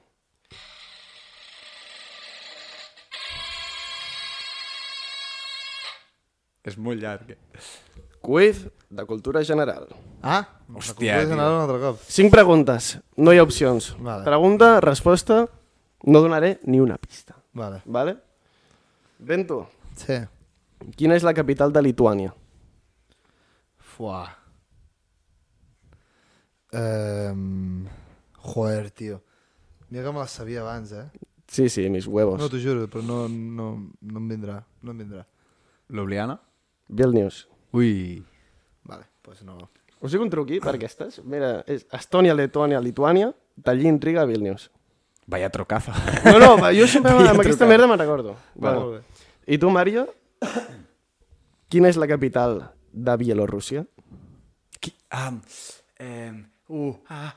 A: És molt llarg. eh?
B: Quiz de cultura general.
E: Ah,
A: Hòstia,
E: recordes
A: tio.
E: anar un altre cop.
B: Cinc preguntes, no hi ha opcions.
E: Vale.
B: Pregunta, resposta, no donaré ni una pista.
E: Vale.
B: Vale? Bento,
E: Sí.
B: quina és la capital de Lituània?
E: Fuà. Um, joder, tio. Mira que me les sabia abans, eh?
B: Sí, sí, mis huevos.
E: No, t'ho juro, però no, no, no em vindrà. No em vindrà.
A: Ljubljana?
B: Vilnius.
A: Ui.
E: Vale, doncs pues no.
B: Us dic un truqui per aquestes. Mira, és Estònia, Letònia, Lituània, Tallinn, Riga, Vilnius.
A: Vaya trocaza.
B: No, no, va, jo sempre
A: Vaya
B: amb aquesta
A: trucada.
B: merda me'n recordo.
A: Vale.
B: Vale. I tu, Mario, quina és la capital de Bielorússia?
A: Qui, um, um, uh, ah,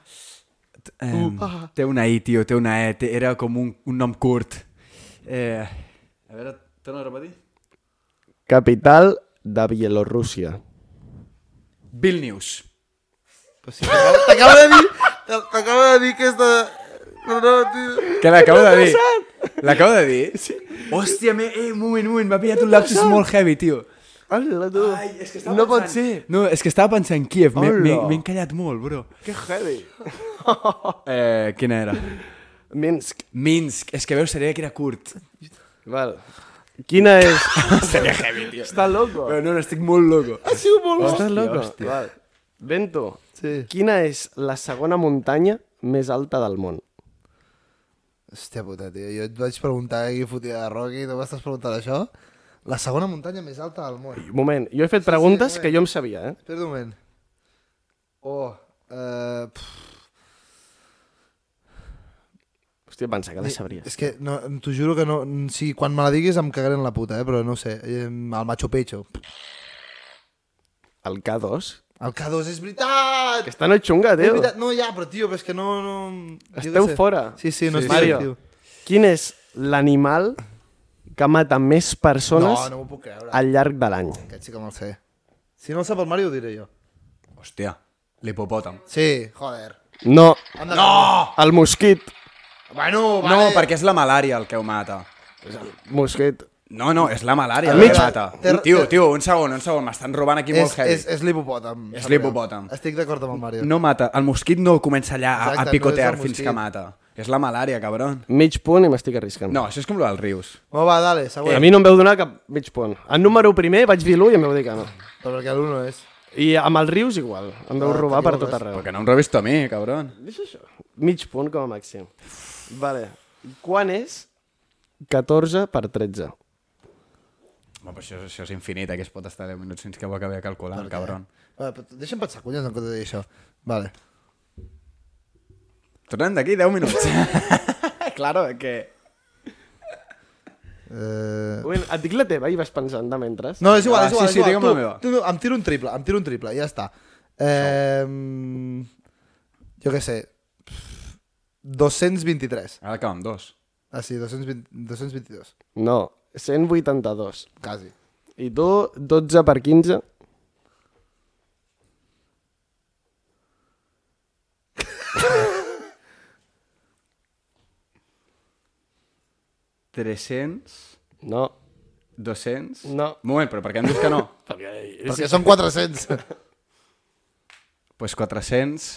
A: um, uh, ah. Té una I, tio, té una E. Té, era com un, un nom curt. Eh, a veure, torna a repetir.
B: Capital de Bielorússia.
A: Vilnius.
E: Però si t'acaba- T'acaba de dir... T'acaba de dir que és de... No, no, tio.
A: Que l'acabo de dir. L'acabo de dir? Sí. Hòstia, me, eh, un moment, un moment, m'ha pillat un lapsus molt heavy, tio.
B: Hola, tu.
A: Ai, és que estava
B: no pot
A: pensant-
B: ser.
A: No, és que estava pensant en Kiev, m'he- m'he
B: Hola.
A: m'he encallat molt, bro.
B: Que heavy.
A: Eh, quina era?
B: Minsk.
A: Minsk, és que veus, seria que era curt.
B: Val. Quina és?
A: seria heavy, tio.
B: Està loco.
A: Però no, no, estic molt loco.
E: Ha sigut molt...
B: Estàs
A: Hòstia,
B: loco.
A: hòstia.
B: Val. Bento,
E: Sí.
B: quina és la segona muntanya més alta del món?
E: Hòstia puta, tio. Jo et vaig preguntar qui fotia de Rocky, tu m'estàs preguntant això? La segona muntanya més alta del món.
B: Un moment, jo he fet preguntes que jo em sabia, eh?
E: Espera un moment. Oh, eh... pff,
B: Hòstia, pensava que la sabries.
E: és que no, t'ho juro que no... Si quan me la diguis em cagaré en la puta, eh? Però no ho sé. Eh, El Machu Picchu.
B: El K2?
E: El K2 és veritat!
B: Que està no xunga,
E: És
B: tio.
E: veritat, no, ja, però tio, però és pues, que no... no jo què
B: Esteu
E: sé.
B: fora.
E: Sí, sí, no
B: Sí.
E: sí. estic
B: Mario.
E: actiu.
B: Quin és l'animal que mata més
E: No,
B: persones
E: no m'ho puc creure.
B: al llarg de l'any?
E: Aquest sí que me'l sé. Si no el sap el Mario, ho diré jo.
A: Hòstia, l'hipopòtam.
E: Sí, joder.
B: No,
E: No!
B: el mosquit.
E: Bueno,
A: No,
E: vale.
A: perquè és la malària el que ho mata.
B: Mosquit.
A: No, no, és la malària
E: Al
A: el
E: mig-
A: que mata.
E: Ter-
A: Tio,
E: ter-
A: tio, un segon, un segon, m'estan robant aquí molt
E: És,
A: heavy.
E: és, és l'hipopòtam.
A: És l'hipopòtam.
E: Estic d'acord amb el Mario.
A: No mata, el mosquit no comença allà a,
E: Exacte,
A: a
E: no
A: picotear
E: és el
A: fins
E: mosquit.
A: que mata. És la malària, cabron.
B: Mig punt i m'estic arriscant.
A: No, això és com lo dels rius.
E: No, va,
A: Eh,
E: dale, següent.
B: A mi no em veu donar cap mig punt. En número primer vaig dir l'1 i em veu dir que no.
E: Però perquè l'1 és...
B: I amb els rius igual. Em veu
E: Ah,
B: robar per tot
E: t'equivoques.
B: arreu.
A: Perquè no em robis tu a mi, cabron.
B: Deixa això. Mig punt com a màxim. Vale. Quan és 14 per 13?
A: Home, però això, això és infinit, aquí es pot estar 10 minuts fins que ho acabi de calcular, cabron.
E: Va, però pues, deixa'm pensar, collons, en comptes de dir això. Vale.
A: Tornem d'aquí 10 minuts. claro, que...
E: Eh...
B: Bueno, et dic la teva i vas pensant de mentres.
E: No, és igual,
A: Va,
E: és igual.
A: sí, sí,
E: és igual.
A: digue'm
E: Tu-
A: la meva.
E: Tu, no, em tiro un triple, em tiro un triple, ja està. Eh... Jo què sé. 223.
A: Ara acabem dos.
E: Ah, sí, 220, 222.
B: No, 182.
E: Quasi.
B: I tu, 12 per 15?
A: Trescents...
B: No.
A: 200...
B: No.
A: Un moment, però per què em dius que no?
B: Perquè...
E: Perquè són 400.
A: Doncs pues 400...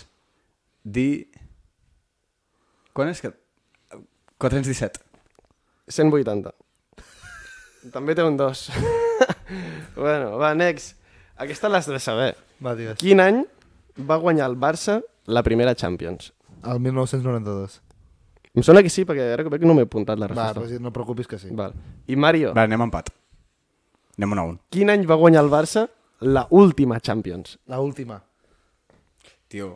A: Di... Quan és que... 417.
B: 180. També té un 2. bueno, va, next. Aquesta l'has de saber.
E: Va, digues.
B: Quin any va guanyar el Barça la primera Champions?
E: El 1992.
B: Em sona que sí, perquè ara que veig no m'he apuntat la
E: Va,
B: resposta.
E: però si no et preocupis que sí.
B: Val. I Mario,
A: Va, anem a empat. Anem un a un.
B: quin any va guanyar el Barça la última Champions?
E: La última.
A: Tio,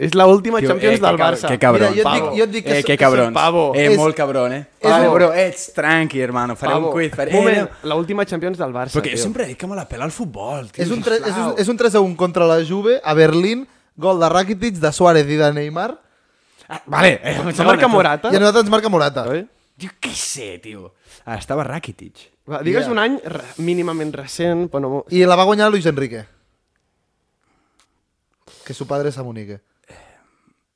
B: És la última
A: Tio,
B: Champions
A: eh, que
B: del
A: cab-
B: Barça.
A: Que cabron.
E: Mira, jo et dic- jo et dic que
A: eh,
E: so-
A: que
E: que soy
A: cabrons.
B: pavo.
A: Eh,
E: És-
A: molt cabrón, eh.
E: és
A: Vale,
E: un-
A: bro, ets tranqui, hermano. Faré un quiz. Faré... Eh,
B: Moment,
A: no.
B: la última Champions del Barça,
A: Però que
B: tio.
A: jo sempre dic que me la pela el futbol, tio.
E: És un, 3, és, un, és un 3 a 1 contra la Juve a Berlín, gol de Rakitic, de Suárez i de Neymar,
A: Ah, vale. Eh, un
B: Se marca
A: segon,
B: Morata.
E: i a nosaltres ens marca Morata.
B: Oi?
A: Jo què sé, tio. Ah, estava Rakitic.
B: Va, digues
E: Yeah.
B: un any re- mínimament recent, però no...
E: I la va guanyar Luis Enrique. Que su padre es amunique.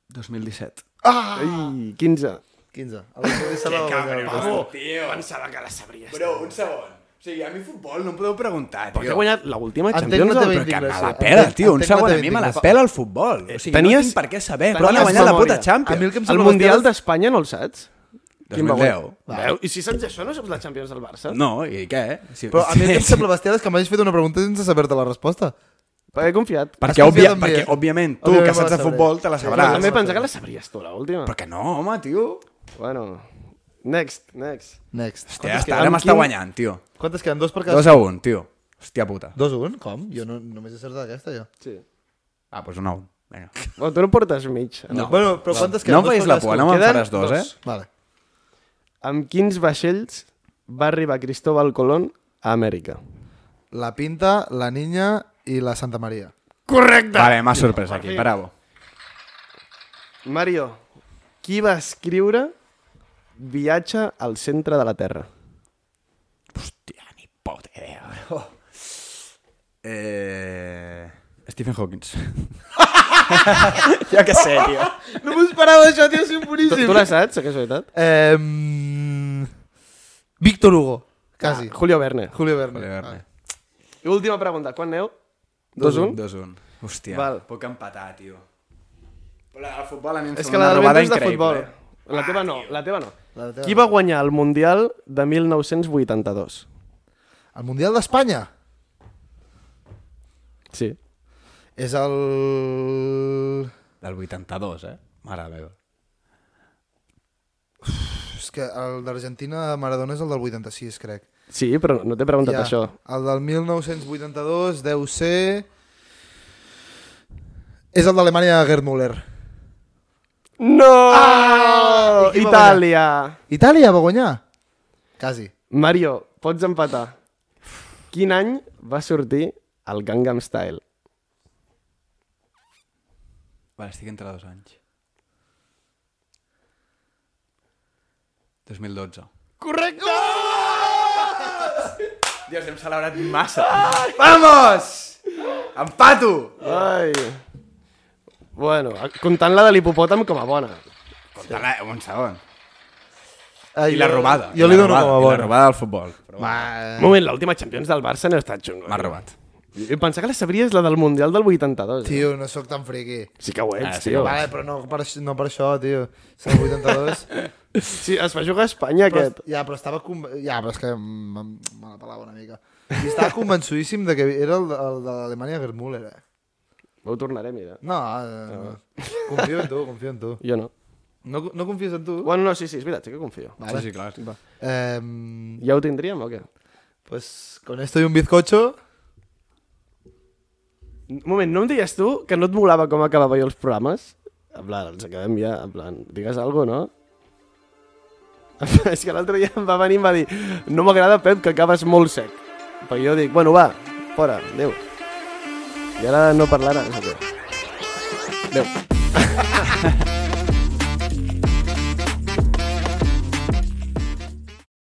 A: 2017.
B: Ai, 15.
E: 15. El Luis se la va guanyar.
A: Pavo,
B: Tio, pensava que la sabries.
A: Bro, un segon. O sigui, a mi futbol no em podeu preguntar,
B: Perquè ha guanyat l'última
E: Entenc
B: Champions
E: la
B: del
E: teva
A: Però que me
B: Barça.
A: la
E: Entenc-
A: pela, tio. Un
E: entenc la
A: segon, a
E: teva
A: mi me la
E: indignació.
A: pela el futbol. O sigui, no
B: tenies-
A: tinc per què saber,
B: tenies
A: però han guanyat la
B: memòria.
A: puta Champions.
E: A mi el que em
B: El
E: sembla
B: Mundial
E: bestial és-
B: d'Espanya no el saps? Quin va
A: 2010.
B: guanyar? Veu? I si saps això, no saps la Champions del Barça?
A: No, i què? Si,
E: Però a mi el que em sembla bestial és que m'hagis fet una pregunta sense saber-te la resposta.
B: Perquè he confiat.
A: Perquè,
E: Has
A: òbvia,
E: confiat en mi,
A: perquè
E: eh?
A: òbviament, tu
E: Òbviament
A: que
E: me la
A: saps de
E: sabré.
A: futbol te la
E: Sí,
A: sabràs.
B: També
E: Barça.
B: pensava que la sabries tu, l'última.
A: Però que no, home, tio.
B: Bueno, next, next.
E: Next.
A: Hòstia,
E: Quantes
A: hasta
E: queden?
A: ara m'està
B: quin-
A: guanyant, tio.
E: Quantes queden? Dos per cada...
A: Dos a un, tio. Hòstia puta.
E: Dos a un? Com? Jo no, només he acertat aquesta, jo.
B: Sí.
A: Ah, doncs un a un. Vinga.
B: Bueno, tu no portes mig.
A: No.
E: Bueno, però quantes
A: No
E: queden?
A: em
E: Dos
A: facis la
E: quantes
A: por,
E: queden?
A: no me'n
B: Queden
A: faràs dos,
B: dos.
A: eh?
E: Vale.
B: Amb quins vaixells va arribar Cristóbal Colón a Amèrica?
E: La Pinta, la Niña i la Santa Maria.
B: Correcte!
A: Vale, m'ha sorprès aquí, bravo.
B: Mario, qui va escriure Viatge al centre de la Terra?
A: Hòstia, ni puta idea, bro. Eh... Stephen Hawkins. ja que sé, tio.
E: No m'ho esperava, això, tio, és
B: Tu,
E: boníssim.
B: tu la saps, aquesta veritat?
E: Eh, mm, Víctor Hugo, quasi.
B: Ah, Julio Verne.
E: Julio Verne.
A: Vale, Ah, Verne.
B: I última pregunta, quan aneu? 2-1?
A: 2-1. Hòstia,
B: Val.
A: puc empatar, tio. Però la del futbol a mi em
B: És
A: sembla
B: que la
A: una
B: de
A: robada
B: Juventus de futbol.
A: increïble. eh?
B: La teva no, la teva no.
E: La teva
B: Qui va guanyar el Mundial de 1982?
E: El Mundial d'Espanya
B: Sí.
E: és el...
A: Del 82, eh? Mare meva.
E: És que el d'Argentina de Maradona és el del 86, crec.
B: Sí, però no t'he preguntat això.
E: El del 1982 deu ser... És el d'Alemanya de Gerd Müller.
B: No!
E: Ah! I qui va
B: Itàlia!
E: Itàlia va guanyar? Quasi.
B: Mario, pots empatar. Quin any va sortir el Gangnam Style?
A: Vale, estic entre dos anys. 2012.
B: Correcte!
A: Dios, hem celebrat massa. Ah! Vamos! Empato!
B: Ai. Bueno, comptant la de l'hipopòtam com a bona.
A: Compte-la, un segon.
E: Ah,
A: I la robada.
E: Jo
A: I
E: li
A: la
E: dono
A: robada,
E: com a
A: i La
E: bona.
A: robada del futbol. Però
E: Va,
B: Un moment, l'última Champions del Barça no ha estat xungo.
A: M'ha robat.
B: Jo pensava que la sabries la del Mundial del 82. eh?
E: tio, no sóc tan friqui.
B: Sí que ho ets,
A: Ah, sí
B: tio.
A: que ho
E: Vale, però no per, aix- no per això, tio. És el 82.
B: Sí, es va jugar a Espanya,
E: però,
B: aquest.
E: ja, però estava... Con... Ja, però és que me, me la pelava una mica. I estava convençudíssim de que era el, el de l'Alemanya Gerd Müller, eh?
B: Ho tornaré a mirar.
E: No, eh, no. confio en tu, confio en tu.
B: Jo no.
E: No, no confies en tu?
B: Bueno, no, sí, sí, és veritat, sí que confio.
A: Vale. Sí, sí, clar. Va.
E: Eh,
B: Ja ho tindríem o què?
E: pues con esto y un bizcocho...
B: Un moment, no em deies tu que no et molava com acabava jo els programes? En plan, els acabem ja, en plan, digues alguna cosa, no? És que l'altre dia em va venir i em va dir no m'agrada, Pep, que acabes molt sec. Però jo dic, bueno, va, fora, adéu. I ara no parlaràs. o què? Adéu.